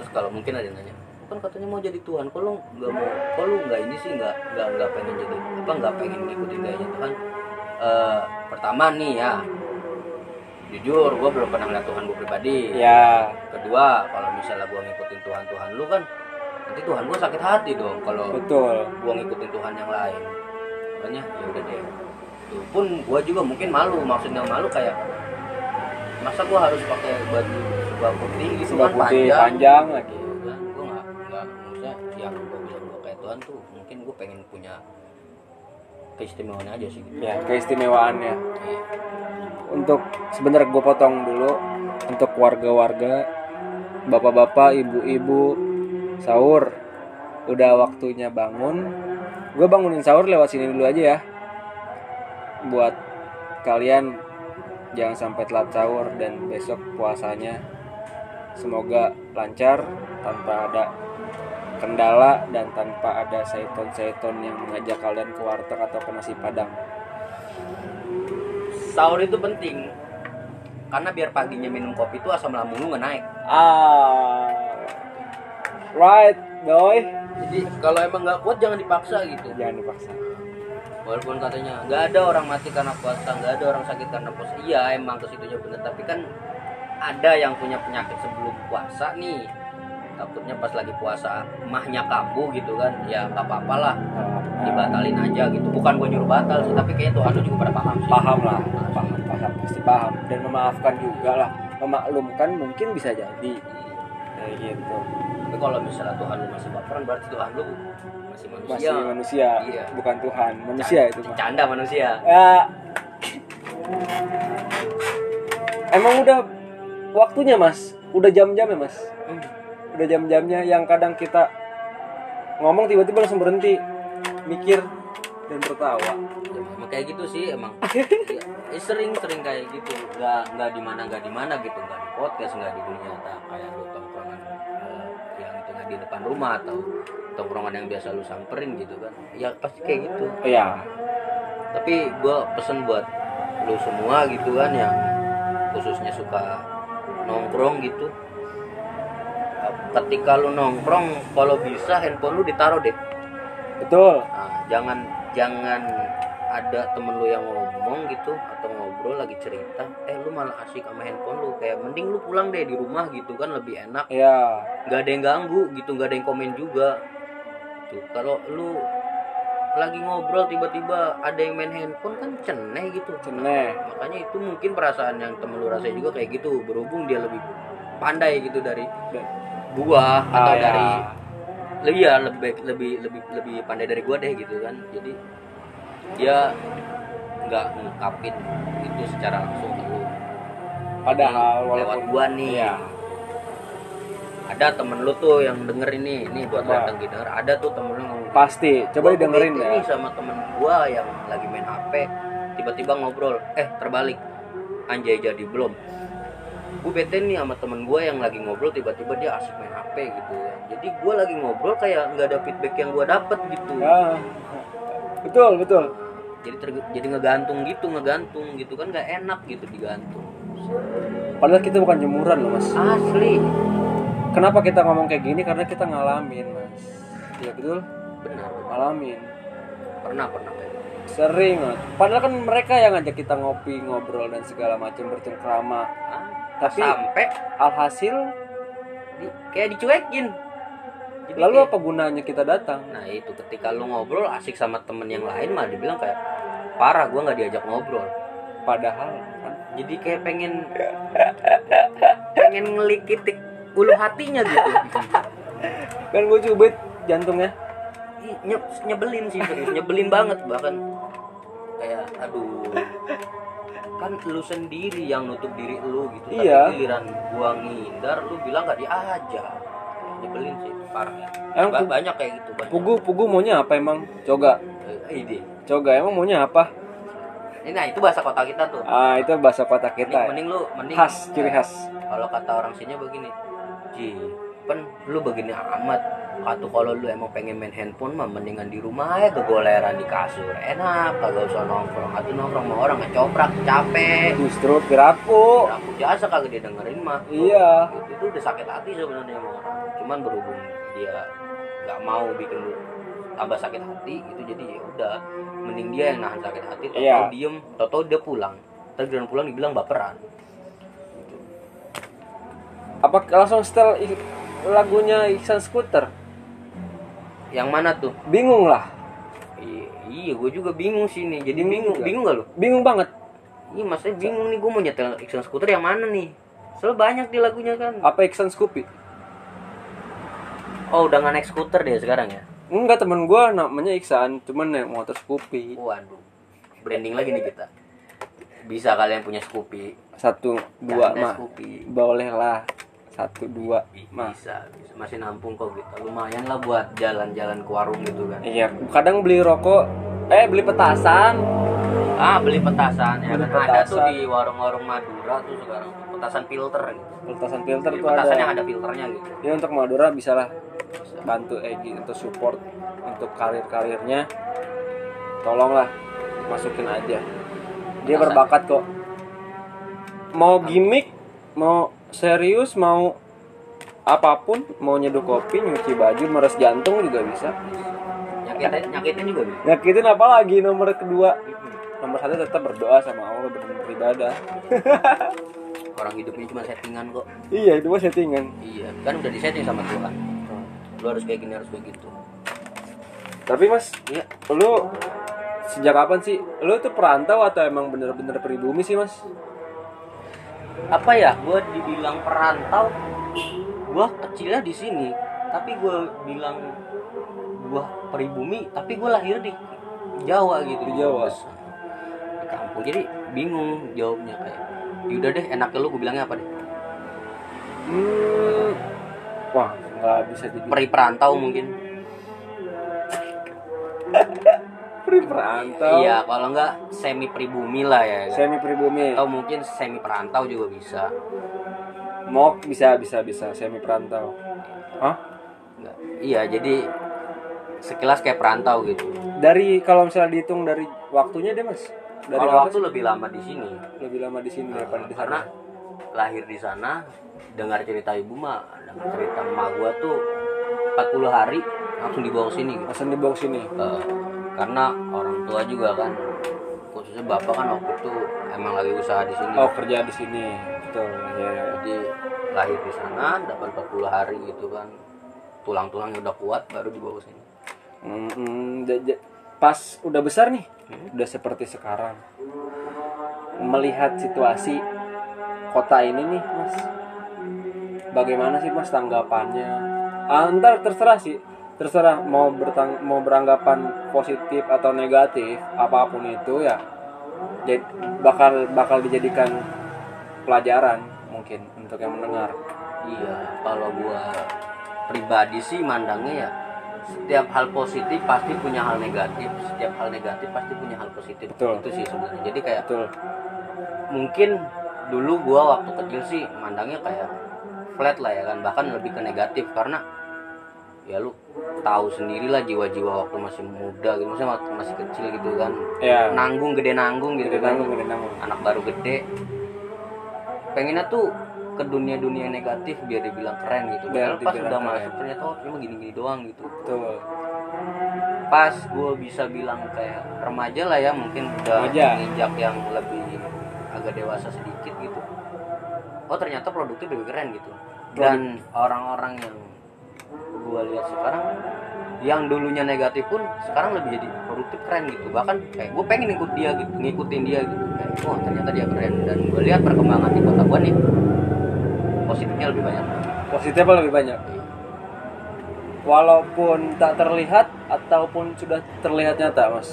[SPEAKER 2] terus kalau mungkin ada yang nanya "Lu kan katanya mau jadi Tuhan kok lu nggak mau kok lu nggak ini sih nggak nggak nggak pengen jadi apa nggak pengen ngikutin gayanya Tuhan Kan, Eh, pertama nih ya jujur gue belum pernah ngeliat Tuhan gue pribadi
[SPEAKER 1] ya
[SPEAKER 2] kedua kalau misalnya gue ngikutin Tuhan Tuhan lu kan nanti Tuhan gue sakit hati dong kalau
[SPEAKER 1] betul
[SPEAKER 2] gua ngikutin Tuhan yang lain makanya ya udah deh itu pun gua juga mungkin malu maksudnya malu kayak masa gua harus pakai baju jubah putih gitu
[SPEAKER 1] sudah
[SPEAKER 2] kan
[SPEAKER 1] putih
[SPEAKER 2] panjang
[SPEAKER 1] panjang lagi
[SPEAKER 2] Gitu kan gua nggak nggak maksudnya yang gua bilang gua kayak Tuhan tuh mungkin gua pengen punya keistimewaan aja sih gitu
[SPEAKER 1] ya keistimewaannya
[SPEAKER 2] Iya.
[SPEAKER 1] untuk sebenarnya gue potong dulu untuk warga-warga bapak-bapak ibu-ibu sahur udah waktunya bangun gue bangunin sahur lewat sini dulu aja ya buat kalian jangan sampai telat sahur dan besok puasanya semoga lancar tanpa ada kendala dan tanpa ada saiton-saiton yang mengajak kalian ke warteg atau ke nasi padang
[SPEAKER 2] sahur itu penting karena biar paginya minum kopi itu asam lambung lu nggak naik
[SPEAKER 1] Ah, right, boy.
[SPEAKER 2] jadi kalau emang nggak kuat jangan dipaksa gitu
[SPEAKER 1] Jangan dipaksa.
[SPEAKER 2] walaupun katanya nggak ada orang mati karena puasa nggak ada orang sakit karena puasa iya emang kesitunya bener tapi kan ada yang punya penyakit sebelum puasa nih takutnya pas lagi puasa mahnya kambuh gitu kan ya nggak apa-apa lah
[SPEAKER 1] Ah,
[SPEAKER 2] dibatalin aja gitu bukan gue nyuruh batal sih tapi kayaknya Tuhan lu juga pada paham sih
[SPEAKER 1] Paham lah, paham, paham, pasti paham. Dan memaafkan juga lah, memaklumkan mungkin bisa jadi. Kayak gitu.
[SPEAKER 2] tapi kalau misalnya Tuhan lu masih baperan berarti Tuhan lu masih manusia
[SPEAKER 1] Masih manusia,
[SPEAKER 2] Iya.
[SPEAKER 1] bukan Tuhan. Manusia itu mah.
[SPEAKER 2] canda manusia
[SPEAKER 1] Ya. Emang udah waktunya mas, udah jam-jam ya mas, udah jam-jamnya yang kadang kita ngomong tiba-tiba langsung berhenti, mikir dan tertawa.
[SPEAKER 2] ya, emang kayak gitu sih emang Ya, sering-sering kayak gitu nggak nggak di mana nggak di mana gitu nggak di podcast nggak di dunia nyata kayak lu tongkrongan eh, yang itu nggak di depan rumah atau tongkrongan yang biasa lu samperin gitu kan ya pasti kayak gitu
[SPEAKER 1] Iya,
[SPEAKER 2] tapi gue pesen buat lu semua gitu kan yang khususnya suka nongkrong gitu ketika lu nongkrong kalau bisa handphone lu ditaruh deh
[SPEAKER 1] betul.
[SPEAKER 2] Nah, jangan jangan ada temen lu yang ngomong gitu atau ngobrol lagi cerita eh lu malah asik sama handphone lu kayak mending lu pulang deh di rumah gitu kan lebih enak
[SPEAKER 1] Iya,
[SPEAKER 2] nggak ada yang ganggu gitu nggak ada yang komen juga tuh kalau lu lagi ngobrol tiba-tiba ada yang main handphone kan ceneh gitu
[SPEAKER 1] ceneh.
[SPEAKER 2] makanya itu mungkin perasaan yang temen lu rasain juga kayak gitu berhubung dia lebih pandai gitu dari gua
[SPEAKER 1] Ah,
[SPEAKER 2] atau
[SPEAKER 1] ya.
[SPEAKER 2] dari lebih ya lebih baik- lebih lebih lebih pandai dari gua deh gitu kan jadi dia nggak ngungkapin itu secara langsung ke lu
[SPEAKER 1] Padahal
[SPEAKER 2] Ini lewat
[SPEAKER 1] walaupun
[SPEAKER 2] gua nih
[SPEAKER 1] Iya.
[SPEAKER 2] ada temen lu tuh yang denger ini nih buat
[SPEAKER 1] Coba.
[SPEAKER 2] datang denger ada tuh temen lu ngomong
[SPEAKER 1] pasti, coba
[SPEAKER 2] "Gua kok
[SPEAKER 1] didengerin
[SPEAKER 2] bete
[SPEAKER 1] ya.
[SPEAKER 2] nih sama temen gua yang lagi main hp tiba-tiba ngobrol eh terbalik anjay jadi belum gue bete nih sama temen gue yang lagi ngobrol tiba-tiba dia asik main hp gitu ya jadi gue lagi ngobrol kayak nggak ada feedback yang gue dapet gitu
[SPEAKER 1] Ah. betul betul
[SPEAKER 2] jadi ter- jadi ngegantung gitu ngegantung gitu kan nggak enak gitu digantung
[SPEAKER 1] padahal kita bukan jemuran loh mas
[SPEAKER 2] asli
[SPEAKER 1] kenapa kita ngomong kayak gini karena kita ngalamin mas ya betul
[SPEAKER 2] benar
[SPEAKER 1] ngalamin
[SPEAKER 2] pernah pernah kayak gitu.
[SPEAKER 1] sering Mas. padahal kan mereka yang ngajak kita ngopi ngobrol dan segala macam bercengkrama
[SPEAKER 2] Ah,
[SPEAKER 1] Tapi-
[SPEAKER 2] sampai
[SPEAKER 1] alhasil
[SPEAKER 2] di- kayak dicuekin Jadi
[SPEAKER 1] lalu
[SPEAKER 2] kayak-
[SPEAKER 1] apa gunanya kita datang
[SPEAKER 2] Nah itu ketika lu ngobrol asik sama temen yang lain mah dibilang kayak parah gua nggak diajak ngobrol.
[SPEAKER 1] padahal kan
[SPEAKER 2] Jadi kayak pengen pengen ngelikitik ulu hatinya gitu.
[SPEAKER 1] kan gue cubit jantungnya
[SPEAKER 2] Ih, nye- nyebelin sih serius, nyebelin banget bahkan kayak aduh kan lu sendiri yang nutup diri lu gitu
[SPEAKER 1] Iya.
[SPEAKER 2] tapi giliran gua ngindar lu bilang gak diajak nyebelin sih parah ya
[SPEAKER 1] Emang
[SPEAKER 2] Ba-
[SPEAKER 1] pu-
[SPEAKER 2] banyak kayak gitu banyak
[SPEAKER 1] pugu pugu maunya apa emang coga
[SPEAKER 2] Eh, ide
[SPEAKER 1] coga emang maunya apa
[SPEAKER 2] Ini, nah itu bahasa kota kita tuh
[SPEAKER 1] ah itu bahasa kota
[SPEAKER 2] mending,
[SPEAKER 1] kita ya.
[SPEAKER 2] mending lu mending
[SPEAKER 1] khas ciri khas
[SPEAKER 2] kalau kata orang sini begini ji pen lu begini amat kata kalau lu emang pengen main handphone mah mendingan di rumah aja kegoleran di kasur enak kagak usah nongkrong atau nongkrong sama orang ngecoprak capek
[SPEAKER 1] justru piraku
[SPEAKER 2] aku jasa kagak dia dengerin mah
[SPEAKER 1] Iya.
[SPEAKER 2] itu, itu udah sakit hati sebenarnya sama orang cuman berhubung dia nggak mau bikin lu tambah sakit hati itu jadi ya udah mending dia yang nahan sakit hati tau
[SPEAKER 1] Iya.
[SPEAKER 2] diem tau dia pulang terus giliran pulang dibilang baperan
[SPEAKER 1] apa langsung setel i- lagunya Iksan Scooter
[SPEAKER 2] yang mana tuh
[SPEAKER 1] bingung lah
[SPEAKER 2] I- Iya, gue juga bingung sih nih. Jadi
[SPEAKER 1] Bingung
[SPEAKER 2] bingung,
[SPEAKER 1] juga.
[SPEAKER 2] bingung gak lo?
[SPEAKER 1] bingung banget
[SPEAKER 2] Iya, maksudnya bingung nih gue mau nyetel Iksan Skuter yang mana nih? Soalnya banyak di lagunya kan.
[SPEAKER 1] apa Iksan Scoopy
[SPEAKER 2] Oh, udah nggak naik skuter dia sekarang ya?
[SPEAKER 1] enggak temen gue namanya Iksan cuman yang motor Scoopy
[SPEAKER 2] Waduh, branding lagi nih kita. Bisa kalian punya Scoopy,
[SPEAKER 1] satu dua
[SPEAKER 2] Canda
[SPEAKER 1] mah
[SPEAKER 2] Scoopy.
[SPEAKER 1] boleh lah satu dua
[SPEAKER 2] Bi-
[SPEAKER 1] mah
[SPEAKER 2] Bisa, bisa, masih nampung kok gitu. Lumayan lah buat jalan-jalan ke warung gitu kan.
[SPEAKER 1] iya kadang beli rokok eh beli petasan
[SPEAKER 2] Ah, beli petasan ya
[SPEAKER 1] Beli
[SPEAKER 2] kan ada
[SPEAKER 1] petasan.
[SPEAKER 2] tuh di warung-warung Madura tuh sekarang petasan filter gitu.
[SPEAKER 1] petasan filter
[SPEAKER 2] Jadi
[SPEAKER 1] tuh
[SPEAKER 2] petasan yang
[SPEAKER 1] ada
[SPEAKER 2] ada filternya gitu.
[SPEAKER 1] ya untuk Madura bisa lah bantu Egi untuk support untuk karir-karirnya tolonglah masukin aja dia berbakat kok mau gimmick mau serius mau apapun mau nyeduh kopi nyuci baju meres jantung juga bisa
[SPEAKER 2] Nyakitin, nyakitin juga nih.
[SPEAKER 1] nyakitin apalagi nomor kedua nomor satu tetap berdoa sama Allah beribadah
[SPEAKER 2] orang hidupnya cuma settingan kok
[SPEAKER 1] iya itu mah settingan
[SPEAKER 2] iya kan udah disetting sama Tuhan
[SPEAKER 1] Hmm.
[SPEAKER 2] lu harus kayak gini harus kayak gitu
[SPEAKER 1] tapi mas
[SPEAKER 2] iya
[SPEAKER 1] lu sejak kapan sih lu tuh perantau atau emang bener-bener pribumi sih mas
[SPEAKER 2] apa ya gue dibilang perantau gue kecilnya di sini tapi gue bilang gue pribumi tapi gue lahir di Jawa gitu
[SPEAKER 1] Di Jawa.
[SPEAKER 2] di kampung jadi bingung jawabnya kayak yaudah deh enaknya lu gue bilangnya apa deh
[SPEAKER 1] Hmm, wah nggak bisa jadi
[SPEAKER 2] peri perantau mungkin
[SPEAKER 1] pri perantau.
[SPEAKER 2] iya kalau enggak semi pribumi lah ya kan?
[SPEAKER 1] Semi pribumi.
[SPEAKER 2] atau mungkin semi perantau juga bisa
[SPEAKER 1] Mok bisa bisa bisa semi perantau. Hah?
[SPEAKER 2] Nggak. Iya, jadi sekilas kayak perantau gitu.
[SPEAKER 1] Dari kalau misalnya dihitung dari waktunya deh mas. Dari
[SPEAKER 2] Kalau
[SPEAKER 1] kapan
[SPEAKER 2] waktu lebih lama di sini eh,
[SPEAKER 1] sih lebih lama di sini daripada di sana.
[SPEAKER 2] karena lahir di sana, dengar cerita ibu mah, dengar cerita emak gua tuh 40 hari langsung dibawa ke sini gitu.
[SPEAKER 1] Langsung dibawa ke sini.
[SPEAKER 2] Eh, karena orang tua juga kan khususnya bapak kan waktu itu emang lagi usaha di sini.
[SPEAKER 1] Oh kerja di sini. Betul. Iya, iya, iya.
[SPEAKER 2] Jadi lahir di sana, dapat 40 hari gitu kan. Tulang-tulangnya udah kuat baru dibawa ke sini.
[SPEAKER 1] Hmm, hmm, ja- ja- pas udah besar nih, udah seperti sekarang. Melihat situasi kota ini nih, Mas. Bagaimana sih Mas tanggapannya? Ah, ntar terserah sih. Terserah mau bertang mau beranggapan positif atau negatif, apapun itu ya. Jadi bakal bakal dijadikan pelajaran mungkin untuk yang mendengar.
[SPEAKER 2] Iya, kalau gua pribadi sih mandangnya ya setiap hal positif pasti punya hal negatif, setiap hal negatif pasti punya hal positif.
[SPEAKER 1] Betul.
[SPEAKER 2] Itu sih sebenarnya. Jadi kayak
[SPEAKER 1] Betul.
[SPEAKER 2] mungkin dulu gua waktu kecil sih mandangnya kayak flat lah ya kan bahkan lebih ke negatif karena ya lu tahu sendirilah jiwa-jiwa waktu masih muda gitu maksudnya waktu masih kecil gitu kan
[SPEAKER 1] ya
[SPEAKER 2] nanggung gede nanggung gitu
[SPEAKER 1] gede
[SPEAKER 2] kan
[SPEAKER 1] nanggung gede nanggung
[SPEAKER 2] anak baru gede pengennya tuh ke dunia dunia negatif biar dibilang keren gitu
[SPEAKER 1] Biar
[SPEAKER 2] Padahal pas
[SPEAKER 1] dibilang
[SPEAKER 2] udah
[SPEAKER 1] keren.
[SPEAKER 2] masuk ternyata oh cuma gini gini doang gitu
[SPEAKER 1] betul
[SPEAKER 2] pas gue bisa bilang kayak remaja lah ya mungkin udah
[SPEAKER 1] Remaja.
[SPEAKER 2] menginjak yang lebih agak dewasa sedikit gitu oh ternyata produknya lebih keren gitu dan orang-orang yang gue lihat sekarang yang dulunya negatif pun sekarang lebih jadi produktif keren gitu bahkan kayak gue pengen ikut dia gitu ngikutin dia gitu kayak oh ternyata dia keren dan gue lihat perkembangan di kota gue nih positifnya lebih banyak
[SPEAKER 1] positifnya lebih banyak walaupun tak terlihat ataupun sudah terlihat nyata mas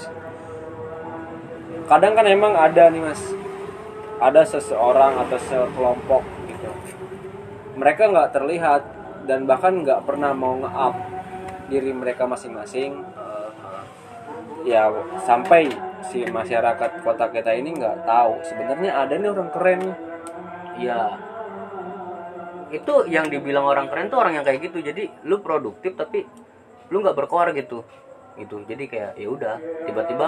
[SPEAKER 1] kadang kan emang ada nih mas ada seseorang atau sekelompok gitu mereka nggak terlihat dan bahkan nggak pernah mau nge-up diri mereka masing-masing
[SPEAKER 2] Eh,
[SPEAKER 1] ya sampai si masyarakat kota kita ini nggak tahu sebenarnya ada nih orang keren nih
[SPEAKER 2] Iya. Itu yang dibilang orang keren tuh orang yang kayak gitu. Jadi lu produktif tapi lu nggak berkoar gitu. Gitu. Jadi kayak ya udah, tiba-tiba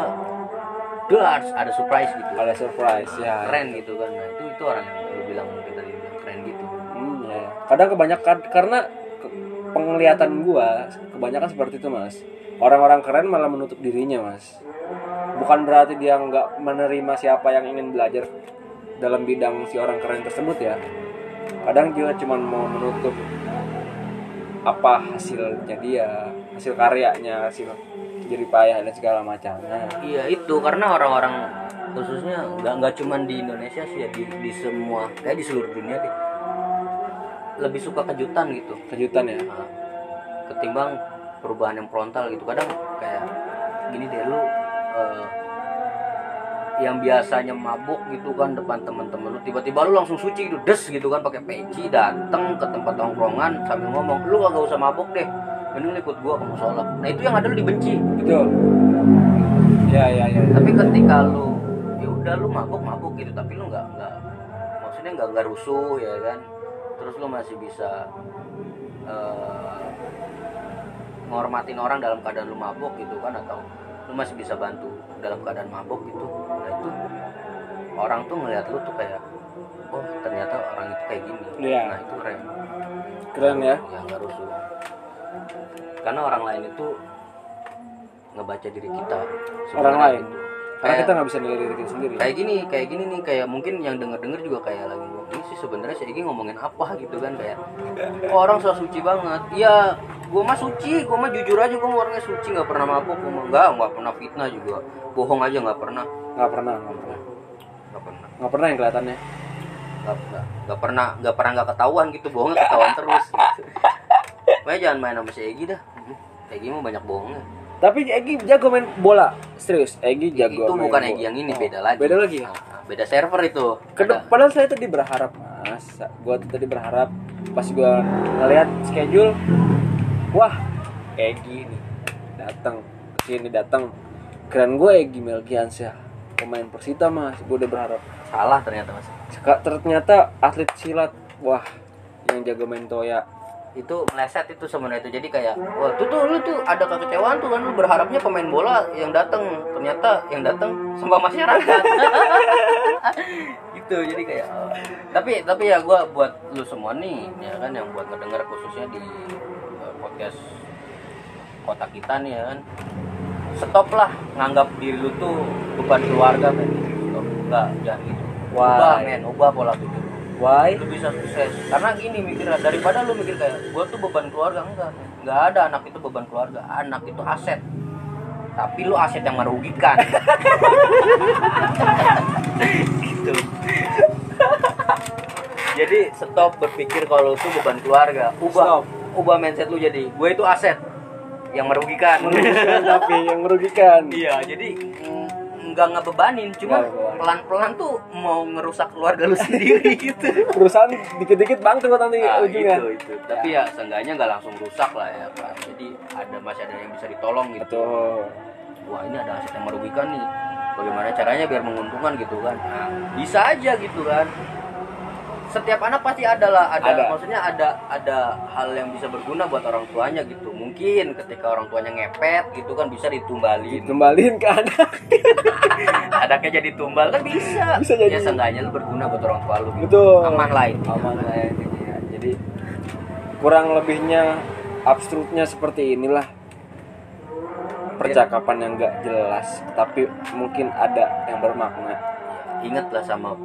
[SPEAKER 2] dars ada surprise gitu.
[SPEAKER 1] ada surprise ya
[SPEAKER 2] Keren gitu kan. Nah, itu itu orang yang lu bilang mungkin tadi bilang keren gitu.
[SPEAKER 1] Hmm, ya. Kadang kebanyakan karena ke- penglihatan gua kebanyakan seperti itu mas. Orang-orang keren malah menutup dirinya mas. Bukan berarti dia nggak menerima siapa yang ingin belajar dalam bidang si orang keren tersebut ya. Kadang dia cuma mau menutup apa hasilnya dia, hasil karyanya, hasil jerih payah dan segala macamnya.
[SPEAKER 2] Iya itu karena orang-orang khususnya nggak nggak cuman di Indonesia sih ya di, di semua kayak di seluruh dunia deh lebih suka kejutan gitu
[SPEAKER 1] Kejutan ya.
[SPEAKER 2] Nah, ketimbang perubahan yang frontal gitu kadang kayak gini deh lu eh, yang biasanya mabuk gitu kan depan teman-teman lu tiba-tiba lu langsung suci gitu des gitu kan pakai peci dateng ke tempat tongkrongan sambil ngomong lu kagak usah mabuk deh mending lu ikut gua ke musola nah itu yang ada lu dibenci
[SPEAKER 1] Betul. Ya ya ya.
[SPEAKER 2] tapi ketika lu ya udah lu mabuk mabuk gitu tapi lu nggak nggak maksudnya nggak nggak rusuh ya kan terus lu masih bisa eh, menghormatin orang dalam keadaan lu mabuk gitu kan atau lu masih bisa bantu dalam keadaan mabuk gitu nah itu orang tuh ngelihat lu tuh kayak oh ternyata orang itu kayak gini
[SPEAKER 1] Iya.
[SPEAKER 2] nah itu keren
[SPEAKER 1] Keren ya.
[SPEAKER 2] yang nggak rusuh karena orang lain itu ngebaca diri kita
[SPEAKER 1] Orang
[SPEAKER 2] sebenarnya
[SPEAKER 1] lain.
[SPEAKER 2] gitu.
[SPEAKER 1] Karena
[SPEAKER 2] Kayak-
[SPEAKER 1] kita nggak bisa nilai diri kita sendiri.
[SPEAKER 2] kayak gini kayak gini nih kayak mungkin yang denger denger juga kayak lagi ngomong ini sih sebenarnya si Egi ngomongin apa gitu kan kayak kok orang so suci banget ya gue mah suci gue mah jujur aja gue orangnya suci nggak pernah mabuk gue mah nggak nggak pernah fitnah juga bohong aja nggak pernah
[SPEAKER 1] Nggak pernah, nggak pernah.
[SPEAKER 2] nggak pernah
[SPEAKER 1] nggak pernah yang kelihatannya
[SPEAKER 2] nggak nggak- nggak pernah nggak pernah nggak ketahuan gitu bohongnya ketahuan terus gitu. Makanya jangan main sama si Egi dah Egi mah banyak bohongnya
[SPEAKER 1] tapi Egi jago main bola serius Egi jago
[SPEAKER 2] itu
[SPEAKER 1] Iya, main
[SPEAKER 2] bukan
[SPEAKER 1] bola.
[SPEAKER 2] Egi yang ini
[SPEAKER 1] Oh,
[SPEAKER 2] beda lagi
[SPEAKER 1] beda lagi ya?
[SPEAKER 2] Nah, beda server itu
[SPEAKER 1] Kedep- padahal saya tadi berharap mas gue tadi berharap pas gue ngeliat schedule wah Egi nih datang kesini datang keren gue Egi Melgiansyah pemain Persita mas gue udah berharap
[SPEAKER 2] Ada- salah ternyata mas
[SPEAKER 1] Seka- ternyata atlet silat wah yang jago main toya
[SPEAKER 2] itu meleset itu sebenarnya itu jadi kayak wah tuh tuh lu tuh ada kekecewaan tuh kan lu berharapnya pemain bola yang datang ternyata yang datang sampah masyarakat *laughs* gitu jadi kayak oh. tapi tapi ya gua buat lu semua nih ya kan yang buat ngedenger khususnya di eh, podcast kota kita nih ya kan stop lah nganggap diri lu tuh beban keluarga men stop enggak jangan gitu
[SPEAKER 1] Why?
[SPEAKER 2] ubah men ubah pola pikir lu
[SPEAKER 1] why *laughs*
[SPEAKER 2] lu bisa sukses karena gini mikirnya daripada lu mikir kayak gua tuh beban keluarga enggak enggak ada anak itu beban keluarga anak itu aset tapi lu aset yang merugikan gitu jadi stop berpikir kalau lu tuh beban keluarga ubah
[SPEAKER 1] Stop.
[SPEAKER 2] ubah mindset lu jadi gue itu aset yang merugikan
[SPEAKER 1] merugikan tapi yang merugikan
[SPEAKER 2] iya jadi mm, nggak ngebebanin cuman
[SPEAKER 1] Nggak ngebebanin.
[SPEAKER 2] pelan-pelan tuh mau ngerusak keluarga lu sendiri *laughs* gitu
[SPEAKER 1] perusahaan dikit-dikit bangkrut nanti
[SPEAKER 2] Ah,
[SPEAKER 1] ujungnya
[SPEAKER 2] itu, itu. Tapi ya, seenggaknya nggak langsung rusak lah ya kan. Jadi ada masih ada yang bisa ditolong gitu.
[SPEAKER 1] Betul.
[SPEAKER 2] Wah ini ada aset yang merugikan nih. Bagaimana caranya biar menguntungkan gitu kan? Nah, bisa aja gitu kan. setiap anak pasti adalah ada,
[SPEAKER 1] Ada.
[SPEAKER 2] maksudnya ada ada hal yang bisa berguna buat orang tuanya gitu mungkin ketika orang tuanya ngepet gitu kan bisa
[SPEAKER 1] *laughs*
[SPEAKER 2] ditumbalin
[SPEAKER 1] Kembaliin ke
[SPEAKER 2] *laughs*
[SPEAKER 1] anak.
[SPEAKER 2] anaknya jadi tumbal kan bisa
[SPEAKER 1] Bisa jadi.
[SPEAKER 2] ya seenggaknya lu berguna buat orang tua lu gitu.
[SPEAKER 1] Betul.
[SPEAKER 2] aman lah itu
[SPEAKER 1] Aman lah ya, gitu ya. Jadi kurang lebihnya abstruknya seperti inilah percakapan yang gak jelas tapi mungkin ada yang bermakna
[SPEAKER 2] ingatlah sama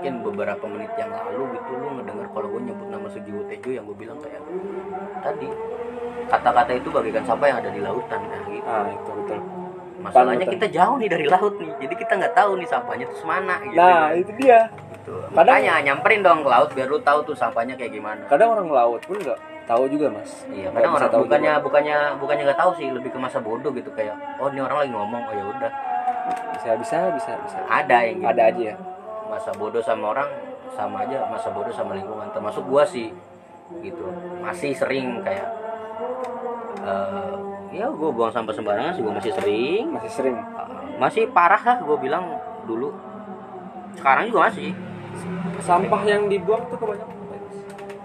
[SPEAKER 2] mungkin beberapa menit yang lalu gitu lu ngedengar kalau gue nyebut nama Sugiwo Tejo yang gue bilang kayak tadi kata-kata itu bagaikan sampah yang ada di lautan nah gitu
[SPEAKER 1] ah itu betul
[SPEAKER 2] masalahnya
[SPEAKER 1] Panutan.
[SPEAKER 2] kita jauh nih dari laut nih jadi kita nggak tahu nih sampahnya terus mana gitu
[SPEAKER 1] nah itu dia
[SPEAKER 2] gitu.
[SPEAKER 1] kadang-
[SPEAKER 2] makanya nyamperin dong ke laut biar lu tahu tuh sampahnya kayak gimana
[SPEAKER 1] kadang orang laut pun nggak tahu juga mas
[SPEAKER 2] Iya,
[SPEAKER 1] Nggak
[SPEAKER 2] kadang
[SPEAKER 1] bisa
[SPEAKER 2] orang
[SPEAKER 1] tahu
[SPEAKER 2] bukannya
[SPEAKER 1] juga.
[SPEAKER 2] bukannya bukannya nggak tahu sih, lebih ke masa bodoh gitu kayak, oh ini orang lagi ngomong, oh ya udah,
[SPEAKER 1] bisa bisa bisa bisa
[SPEAKER 2] ada yang gitu.
[SPEAKER 1] ada aja ya
[SPEAKER 2] Masa bodoh sama orang sama aja, masa bodoh sama lingkungan, termasuk gua sih, gitu. Masih sering kayak, eh, ya gua buang sampah sembarangan sih, gua masih sering,
[SPEAKER 1] masih sering
[SPEAKER 2] Eh, masih parah lah gua bilang dulu, sekarang juga masih.
[SPEAKER 1] sampah yang dibuang tuh kebanyakan apa ya, Mas?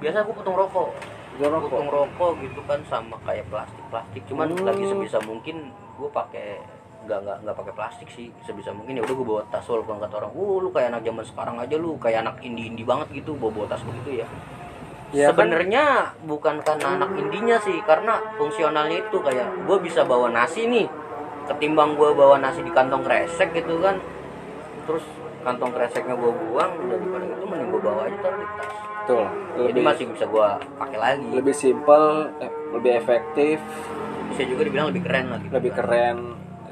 [SPEAKER 2] Biasa gua potong rokok,
[SPEAKER 1] Jual rokok
[SPEAKER 2] potong rokok gitu kan sama kayak plastik plastik cuman
[SPEAKER 1] Hmm.
[SPEAKER 2] lagi sebisa mungkin gue pakai nggak nggak nggak pakai plastik sih sebisa mungkin ya udah gue bawa tas walaupun kata orang "Wuh, lu kayak anak zaman sekarang aja lu kayak anak indie indie banget gitu bawa bawa tas begitu ya
[SPEAKER 1] Ya kan?
[SPEAKER 2] sebenarnya bukan karena anak indinya sih karena fungsionalnya itu kayak gue bisa bawa nasi nih ketimbang gue bawa nasi di kantong kresek gitu kan terus kantong kreseknya gue buang daripada itu mending gue bawa aja taruh di tas
[SPEAKER 1] betul
[SPEAKER 2] jadi
[SPEAKER 1] lebih
[SPEAKER 2] masih bisa gue pakai lagi
[SPEAKER 1] lebih simpel eh, lebih efektif
[SPEAKER 2] bisa juga dibilang lebih keren lah gitu
[SPEAKER 1] lebih
[SPEAKER 2] kan.
[SPEAKER 1] keren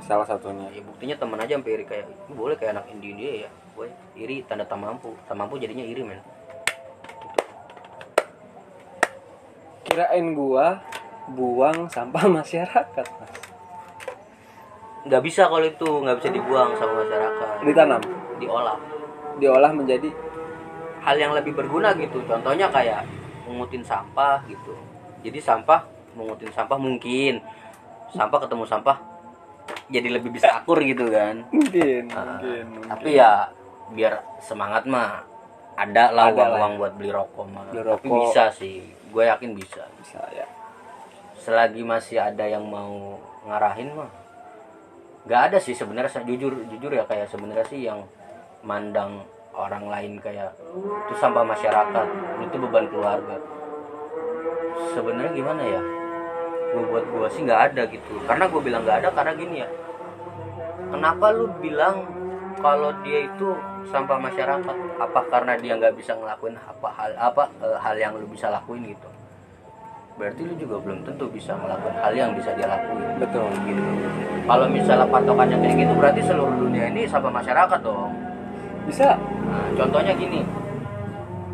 [SPEAKER 1] salah satunya
[SPEAKER 2] ya buktinya teman aja sampai iri kayak "Lu boleh kayak anak indie dia ya gue iri tanda tak mampu tak mampu jadinya iri men
[SPEAKER 1] kirain gua buang sampah *laughs* masyarakat mas
[SPEAKER 2] nggak bisa kalau itu nggak bisa dibuang sama masyarakat
[SPEAKER 1] ditanam
[SPEAKER 2] diolah
[SPEAKER 1] diolah menjadi
[SPEAKER 2] hal yang lebih berguna gitu contohnya kayak mengutin sampah gitu jadi sampah mengutin sampah mungkin sampah ketemu sampah jadi lebih bisa akur gitu kan
[SPEAKER 1] mungkin
[SPEAKER 2] Ah,
[SPEAKER 1] mungkin, mungkin.
[SPEAKER 2] tapi ya biar semangat mah ada
[SPEAKER 1] Ada lah.
[SPEAKER 2] lah
[SPEAKER 1] ya.
[SPEAKER 2] uang-uang buat beli rokok mah
[SPEAKER 1] Beli
[SPEAKER 2] tapi
[SPEAKER 1] rokok.
[SPEAKER 2] bisa sih gue yakin bisa
[SPEAKER 1] bisa ya
[SPEAKER 2] selagi masih ada yang mau ngarahin mah nggak ada sih sebenarnya saya- jujur jujur ya kayak sebenarnya sih yang mandang orang lain kayak itu sampah masyarakat itu beban keluarga sebenarnya gimana ya gue buat gue sih nggak ada gitu karena gue bilang nggak ada karena gini ya kenapa lu bilang kalau dia itu sampah masyarakat apa karena dia nggak bisa ngelakuin apa hal apa eh, hal yang lu bisa lakuin gitu berarti lu juga belum tentu bisa melakukan hal yang bisa dia lakuin
[SPEAKER 1] betul
[SPEAKER 2] gitu kalau misalnya patokannya kayak gitu berarti seluruh dunia ini sama masyarakat dong
[SPEAKER 1] bisa
[SPEAKER 2] nah, contohnya gini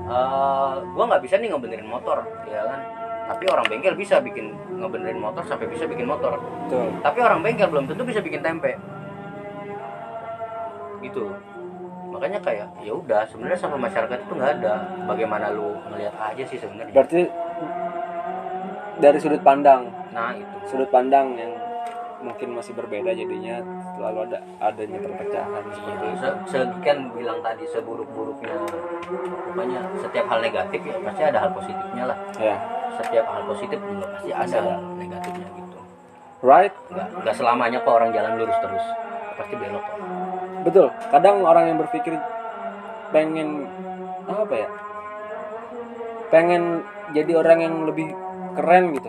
[SPEAKER 2] eh gua nggak bisa nih ngebenerin motor ya kan tapi orang bengkel bisa bikin ngebenerin motor sampai bisa bikin motor
[SPEAKER 1] betul
[SPEAKER 2] tapi orang bengkel belum tentu bisa bikin tempe gitu makanya kayak ya udah sebenarnya sama masyarakat itu nggak ada bagaimana lu ngelihat aja sih sebenarnya
[SPEAKER 1] berarti dari sudut pandang
[SPEAKER 2] nah itu
[SPEAKER 1] sudut pandang yang mungkin masih berbeda jadinya selalu ada adanya perpecahan seperti
[SPEAKER 2] Iya,
[SPEAKER 1] itu
[SPEAKER 2] se- se- kan bilang tadi seburuk-buruknya pokoknya setiap hal negatif ya pasti ada hal positifnya lah
[SPEAKER 1] ya
[SPEAKER 2] setiap hal positif juga pasti ada
[SPEAKER 1] Ada.
[SPEAKER 2] hal negatifnya gitu
[SPEAKER 1] right
[SPEAKER 2] nggak nggak selamanya kok orang jalan lurus terus pasti belok kok
[SPEAKER 1] betul kadang orang yang berpikir pengen apa ya pengen jadi orang yang lebih keren gitu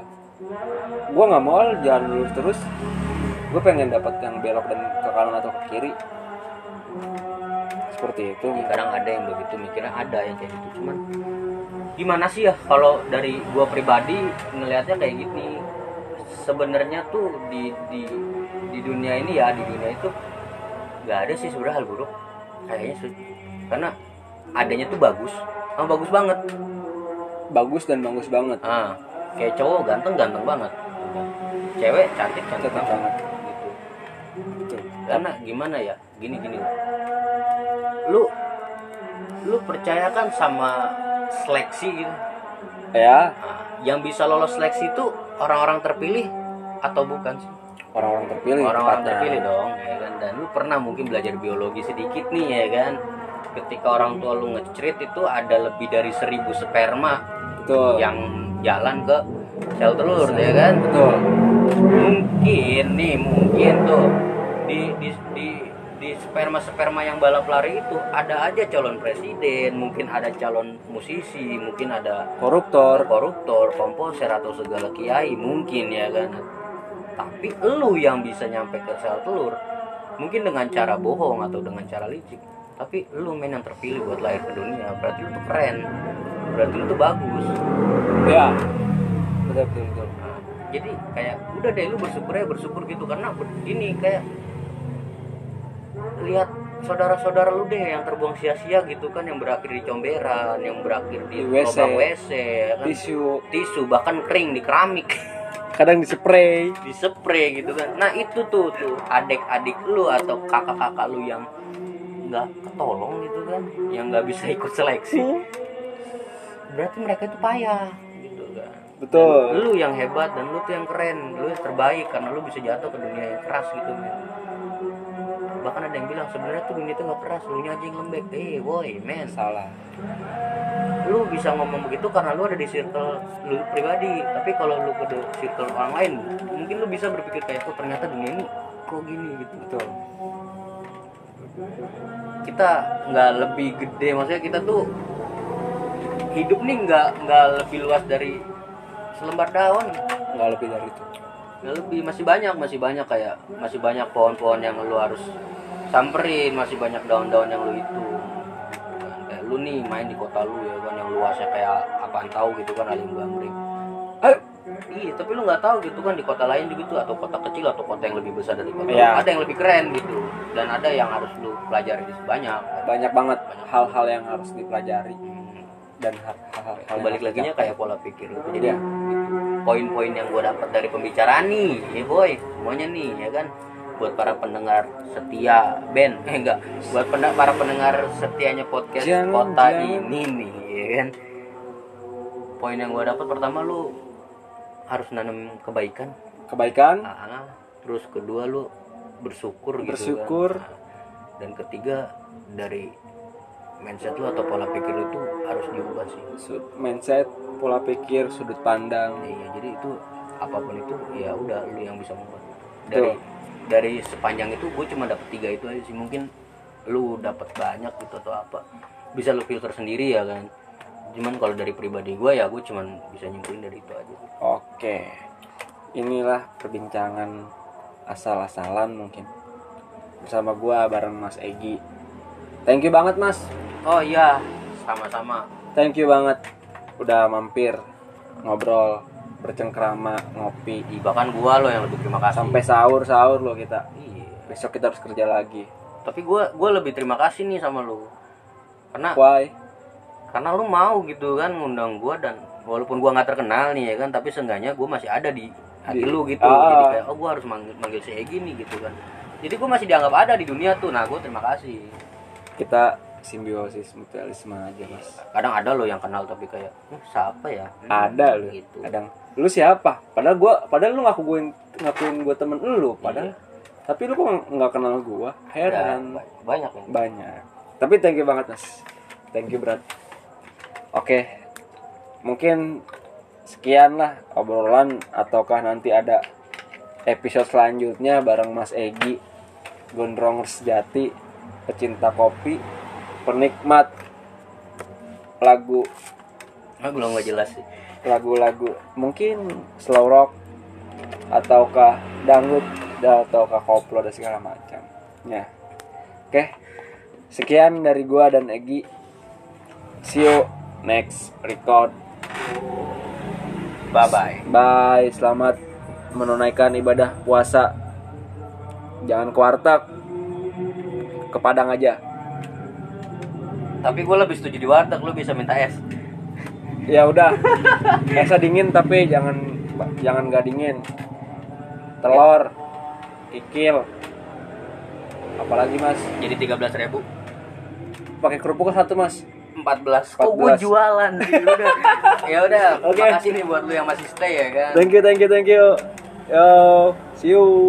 [SPEAKER 1] gue nggak mau lah jalan lurus terus gue pengen dapat yang belok dan ke kanan atau ke kiri seperti itu
[SPEAKER 2] Ya, kadang ada yang begitu mikirnya ada yang kayak gitu cuman gimana sih ya kalau dari gua pribadi ngelihatnya kayak gini sebenarnya tuh di di di dunia ini ya di dunia itu nggak ada sih sebenarnya hal buruk kayaknya sih karena adanya tuh bagus sama bagus banget
[SPEAKER 1] bagus dan bagus banget
[SPEAKER 2] ah kayak cowok ganteng ganteng banget cewek cantik
[SPEAKER 1] Cakep
[SPEAKER 2] cantik banget
[SPEAKER 1] banget
[SPEAKER 2] gitu
[SPEAKER 1] Betul.
[SPEAKER 2] karena gimana ya gini gini lu lu percayakan sama seleksi gitu
[SPEAKER 1] ya
[SPEAKER 2] Nah, yang bisa lolos seleksi itu orang-orang terpilih atau bukan sih
[SPEAKER 1] orang-orang terpilih
[SPEAKER 2] orang-orang
[SPEAKER 1] tepatnya.
[SPEAKER 2] terpilih dong ya kan dan lu pernah mungkin belajar biologi sedikit nih ya kan ketika orang tua lu ngecerit itu ada lebih dari seribu sperma
[SPEAKER 1] betul
[SPEAKER 2] yang jalan ke sel telur ya kan
[SPEAKER 1] betul
[SPEAKER 2] mungkin nih mungkin tuh di di di di sperma sperma yang balap lari itu ada aja calon presiden mungkin ada calon musisi mungkin ada
[SPEAKER 1] koruptor
[SPEAKER 2] koruptor, komposer atau segala kiai mungkin ya kan. Tapi lu yang bisa nyampe ke sel telur mungkin dengan cara bohong atau dengan cara licik. Tapi lu men yang terpilih buat lahir ke dunia, berarti lu tuh keren. Berarti lu tuh bagus.
[SPEAKER 1] ya betul betul, betul.
[SPEAKER 2] Nah, jadi kayak udah deh lu bersyukur ya bersyukur gitu karena ber- ini kayak lihat saudara-saudara lu deh yang terbuang sia-sia gitu kan yang berakhir di comberan, yang berakhir di,
[SPEAKER 1] Di WC.
[SPEAKER 2] lubang WC ya kan
[SPEAKER 1] tisu
[SPEAKER 2] tisu bahkan kering di keramik *laughs*
[SPEAKER 1] kadang dispray
[SPEAKER 2] di spray gitu kan nah itu tuh tuh adik-adik lu atau kakak-kakak lu yang nggak ketolong gitu kan yang nggak bisa ikut seleksi berarti mereka itu payah gitu kan
[SPEAKER 1] betul
[SPEAKER 2] lu yang hebat dan lu tuh yang keren lu yang terbaik karena lu bisa jatuh ke dunia yang keras gitu men bahkan ada yang bilang sebenarnya tuh dunia itu nggak keras lu aja yang lembek eh woi men
[SPEAKER 1] salah
[SPEAKER 2] lu bisa ngomong begitu karena lu ada di circle lu pribadi tapi kalau lu ke de- circle orang lain mungkin lu bisa berpikir kayak oh ternyata dunia ini kok gini gitu
[SPEAKER 1] betul
[SPEAKER 2] kita nggak lebih gede maksudnya kita tuh hidup nih nggak nggak lebih luas dari selembar daun
[SPEAKER 1] nggak lebih dari itu
[SPEAKER 2] nggak Ya, lebih masih banyak masih banyak kayak masih banyak pohon-pohon yang lu harus samperin masih banyak daun-daun yang lu itu kayak lu nih main di kota lu ya kan yang luasnya kayak apaan tahu gitu kan ada yang gambring
[SPEAKER 1] ayo
[SPEAKER 2] Iya, tapi lu nggak tahu gitu kan di kota lain juga tuh atau kota kecil atau kota yang lebih besar dari kota. lu,
[SPEAKER 1] Iya.
[SPEAKER 2] Ada yang lebih keren gitu dan ada yang harus lu pelajari di sebanyak.
[SPEAKER 1] banyak banget hal-hal yang harus dipelajari
[SPEAKER 2] Hmm.
[SPEAKER 1] dan hal- hal-hal yang
[SPEAKER 2] Balik
[SPEAKER 1] harus
[SPEAKER 2] lagi
[SPEAKER 1] dicapai.
[SPEAKER 2] kayak pola pikir lu. Jadi
[SPEAKER 1] Iya.
[SPEAKER 2] poin-poin yang gue dapat dari pembicaraan nih, ya boy, semuanya nih ya kan buat para pendengar setia Ben eh enggak buat penda- para pendengar setianya podcast
[SPEAKER 1] Jangan,
[SPEAKER 2] kota
[SPEAKER 1] jangan.
[SPEAKER 2] ini nih ya kan poin yang gue dapat pertama lu harus nanam kebaikan
[SPEAKER 1] kebaikan
[SPEAKER 2] Ah, terus kedua lu bersyukur gitu
[SPEAKER 1] Bersyukur.
[SPEAKER 2] kan. Ah, dan ketiga dari mindset lu atau pola pikir lu tuh harus diubah sih
[SPEAKER 1] su- mindset pola pikir sudut pandang
[SPEAKER 2] iya jadi itu apapun itu ya udah lu yang bisa mengubah
[SPEAKER 1] Betul.
[SPEAKER 2] dari dari sepanjang itu gue cuma dapet tiga itu aja sih mungkin lu dapat banyak gitu atau apa bisa lu filter sendiri ya kan cuman kalau dari pribadi gue ya gue cuman bisa nyimpulin dari itu aja
[SPEAKER 1] oke inilah perbincangan asal-asalan mungkin bersama gua bareng Mas Egi thank you banget Mas
[SPEAKER 2] oh iya sama-sama
[SPEAKER 1] thank you banget udah mampir ngobrol bercengkrama ngopi
[SPEAKER 2] Ih, bahkan gue lo yang lebih terima kasih
[SPEAKER 1] sampai sahur sahur lo kita
[SPEAKER 2] iya
[SPEAKER 1] besok kita harus kerja lagi
[SPEAKER 2] tapi gue gue lebih terima kasih nih sama lu karena
[SPEAKER 1] why
[SPEAKER 2] karena lu mau gitu kan ngundang gue dan walaupun gue nggak terkenal nih ya kan tapi seenggaknya gue masih ada di hati
[SPEAKER 1] Di-
[SPEAKER 2] lu gitu
[SPEAKER 1] Ah.
[SPEAKER 2] jadi kayak oh gue harus manggil manggil si Egi nih gitu kan jadi gue masih dianggap ada di dunia tuh nah gue terima kasih
[SPEAKER 1] kita simbiosis mutualisme aja mas
[SPEAKER 2] kadang ada lo yang kenal tapi kayak "Hmm, siapa ya Hmm,
[SPEAKER 1] ada lu
[SPEAKER 2] gitu
[SPEAKER 1] kadang lu siapa padahal gua padahal lu ngakuin ngakuin gua temen lu
[SPEAKER 2] Iya.
[SPEAKER 1] padahal tapi lu kok nggak kenal gua
[SPEAKER 2] Ya,
[SPEAKER 1] heran
[SPEAKER 2] ba- banyak yang
[SPEAKER 1] banyak tapi thank you banget mas thank you berat oke mungkin sekian lah obrolan ataukah nanti ada episode selanjutnya bareng mas Egi gondrongers sejati pecinta kopi penikmat lagu
[SPEAKER 2] nah, belum nggak jelas sih
[SPEAKER 1] lagu-lagu mungkin slow rock ataukah dangdut da- ataukah koplo dan segala macam ya oke sekian dari gua dan Egi see you next record
[SPEAKER 2] bye bye
[SPEAKER 1] bye selamat menunaikan ibadah puasa jangan ke warteg ke Padang aja
[SPEAKER 2] tapi gue lebih setuju di warteg lu bisa minta es
[SPEAKER 1] ya udah biasa dingin tapi jangan jangan gak dingin telur kikil apalagi mas
[SPEAKER 2] jadi tiga belas ribu
[SPEAKER 1] pakai kerupuk satu mas
[SPEAKER 2] 14. Kok gue
[SPEAKER 1] 14.
[SPEAKER 2] jualan sih?
[SPEAKER 1] *laughs*
[SPEAKER 2] Udah. ya udah,
[SPEAKER 1] Oke.
[SPEAKER 2] makasih nih buat lu yang masih stay ya kan.
[SPEAKER 1] thank you thank you thank you yo see you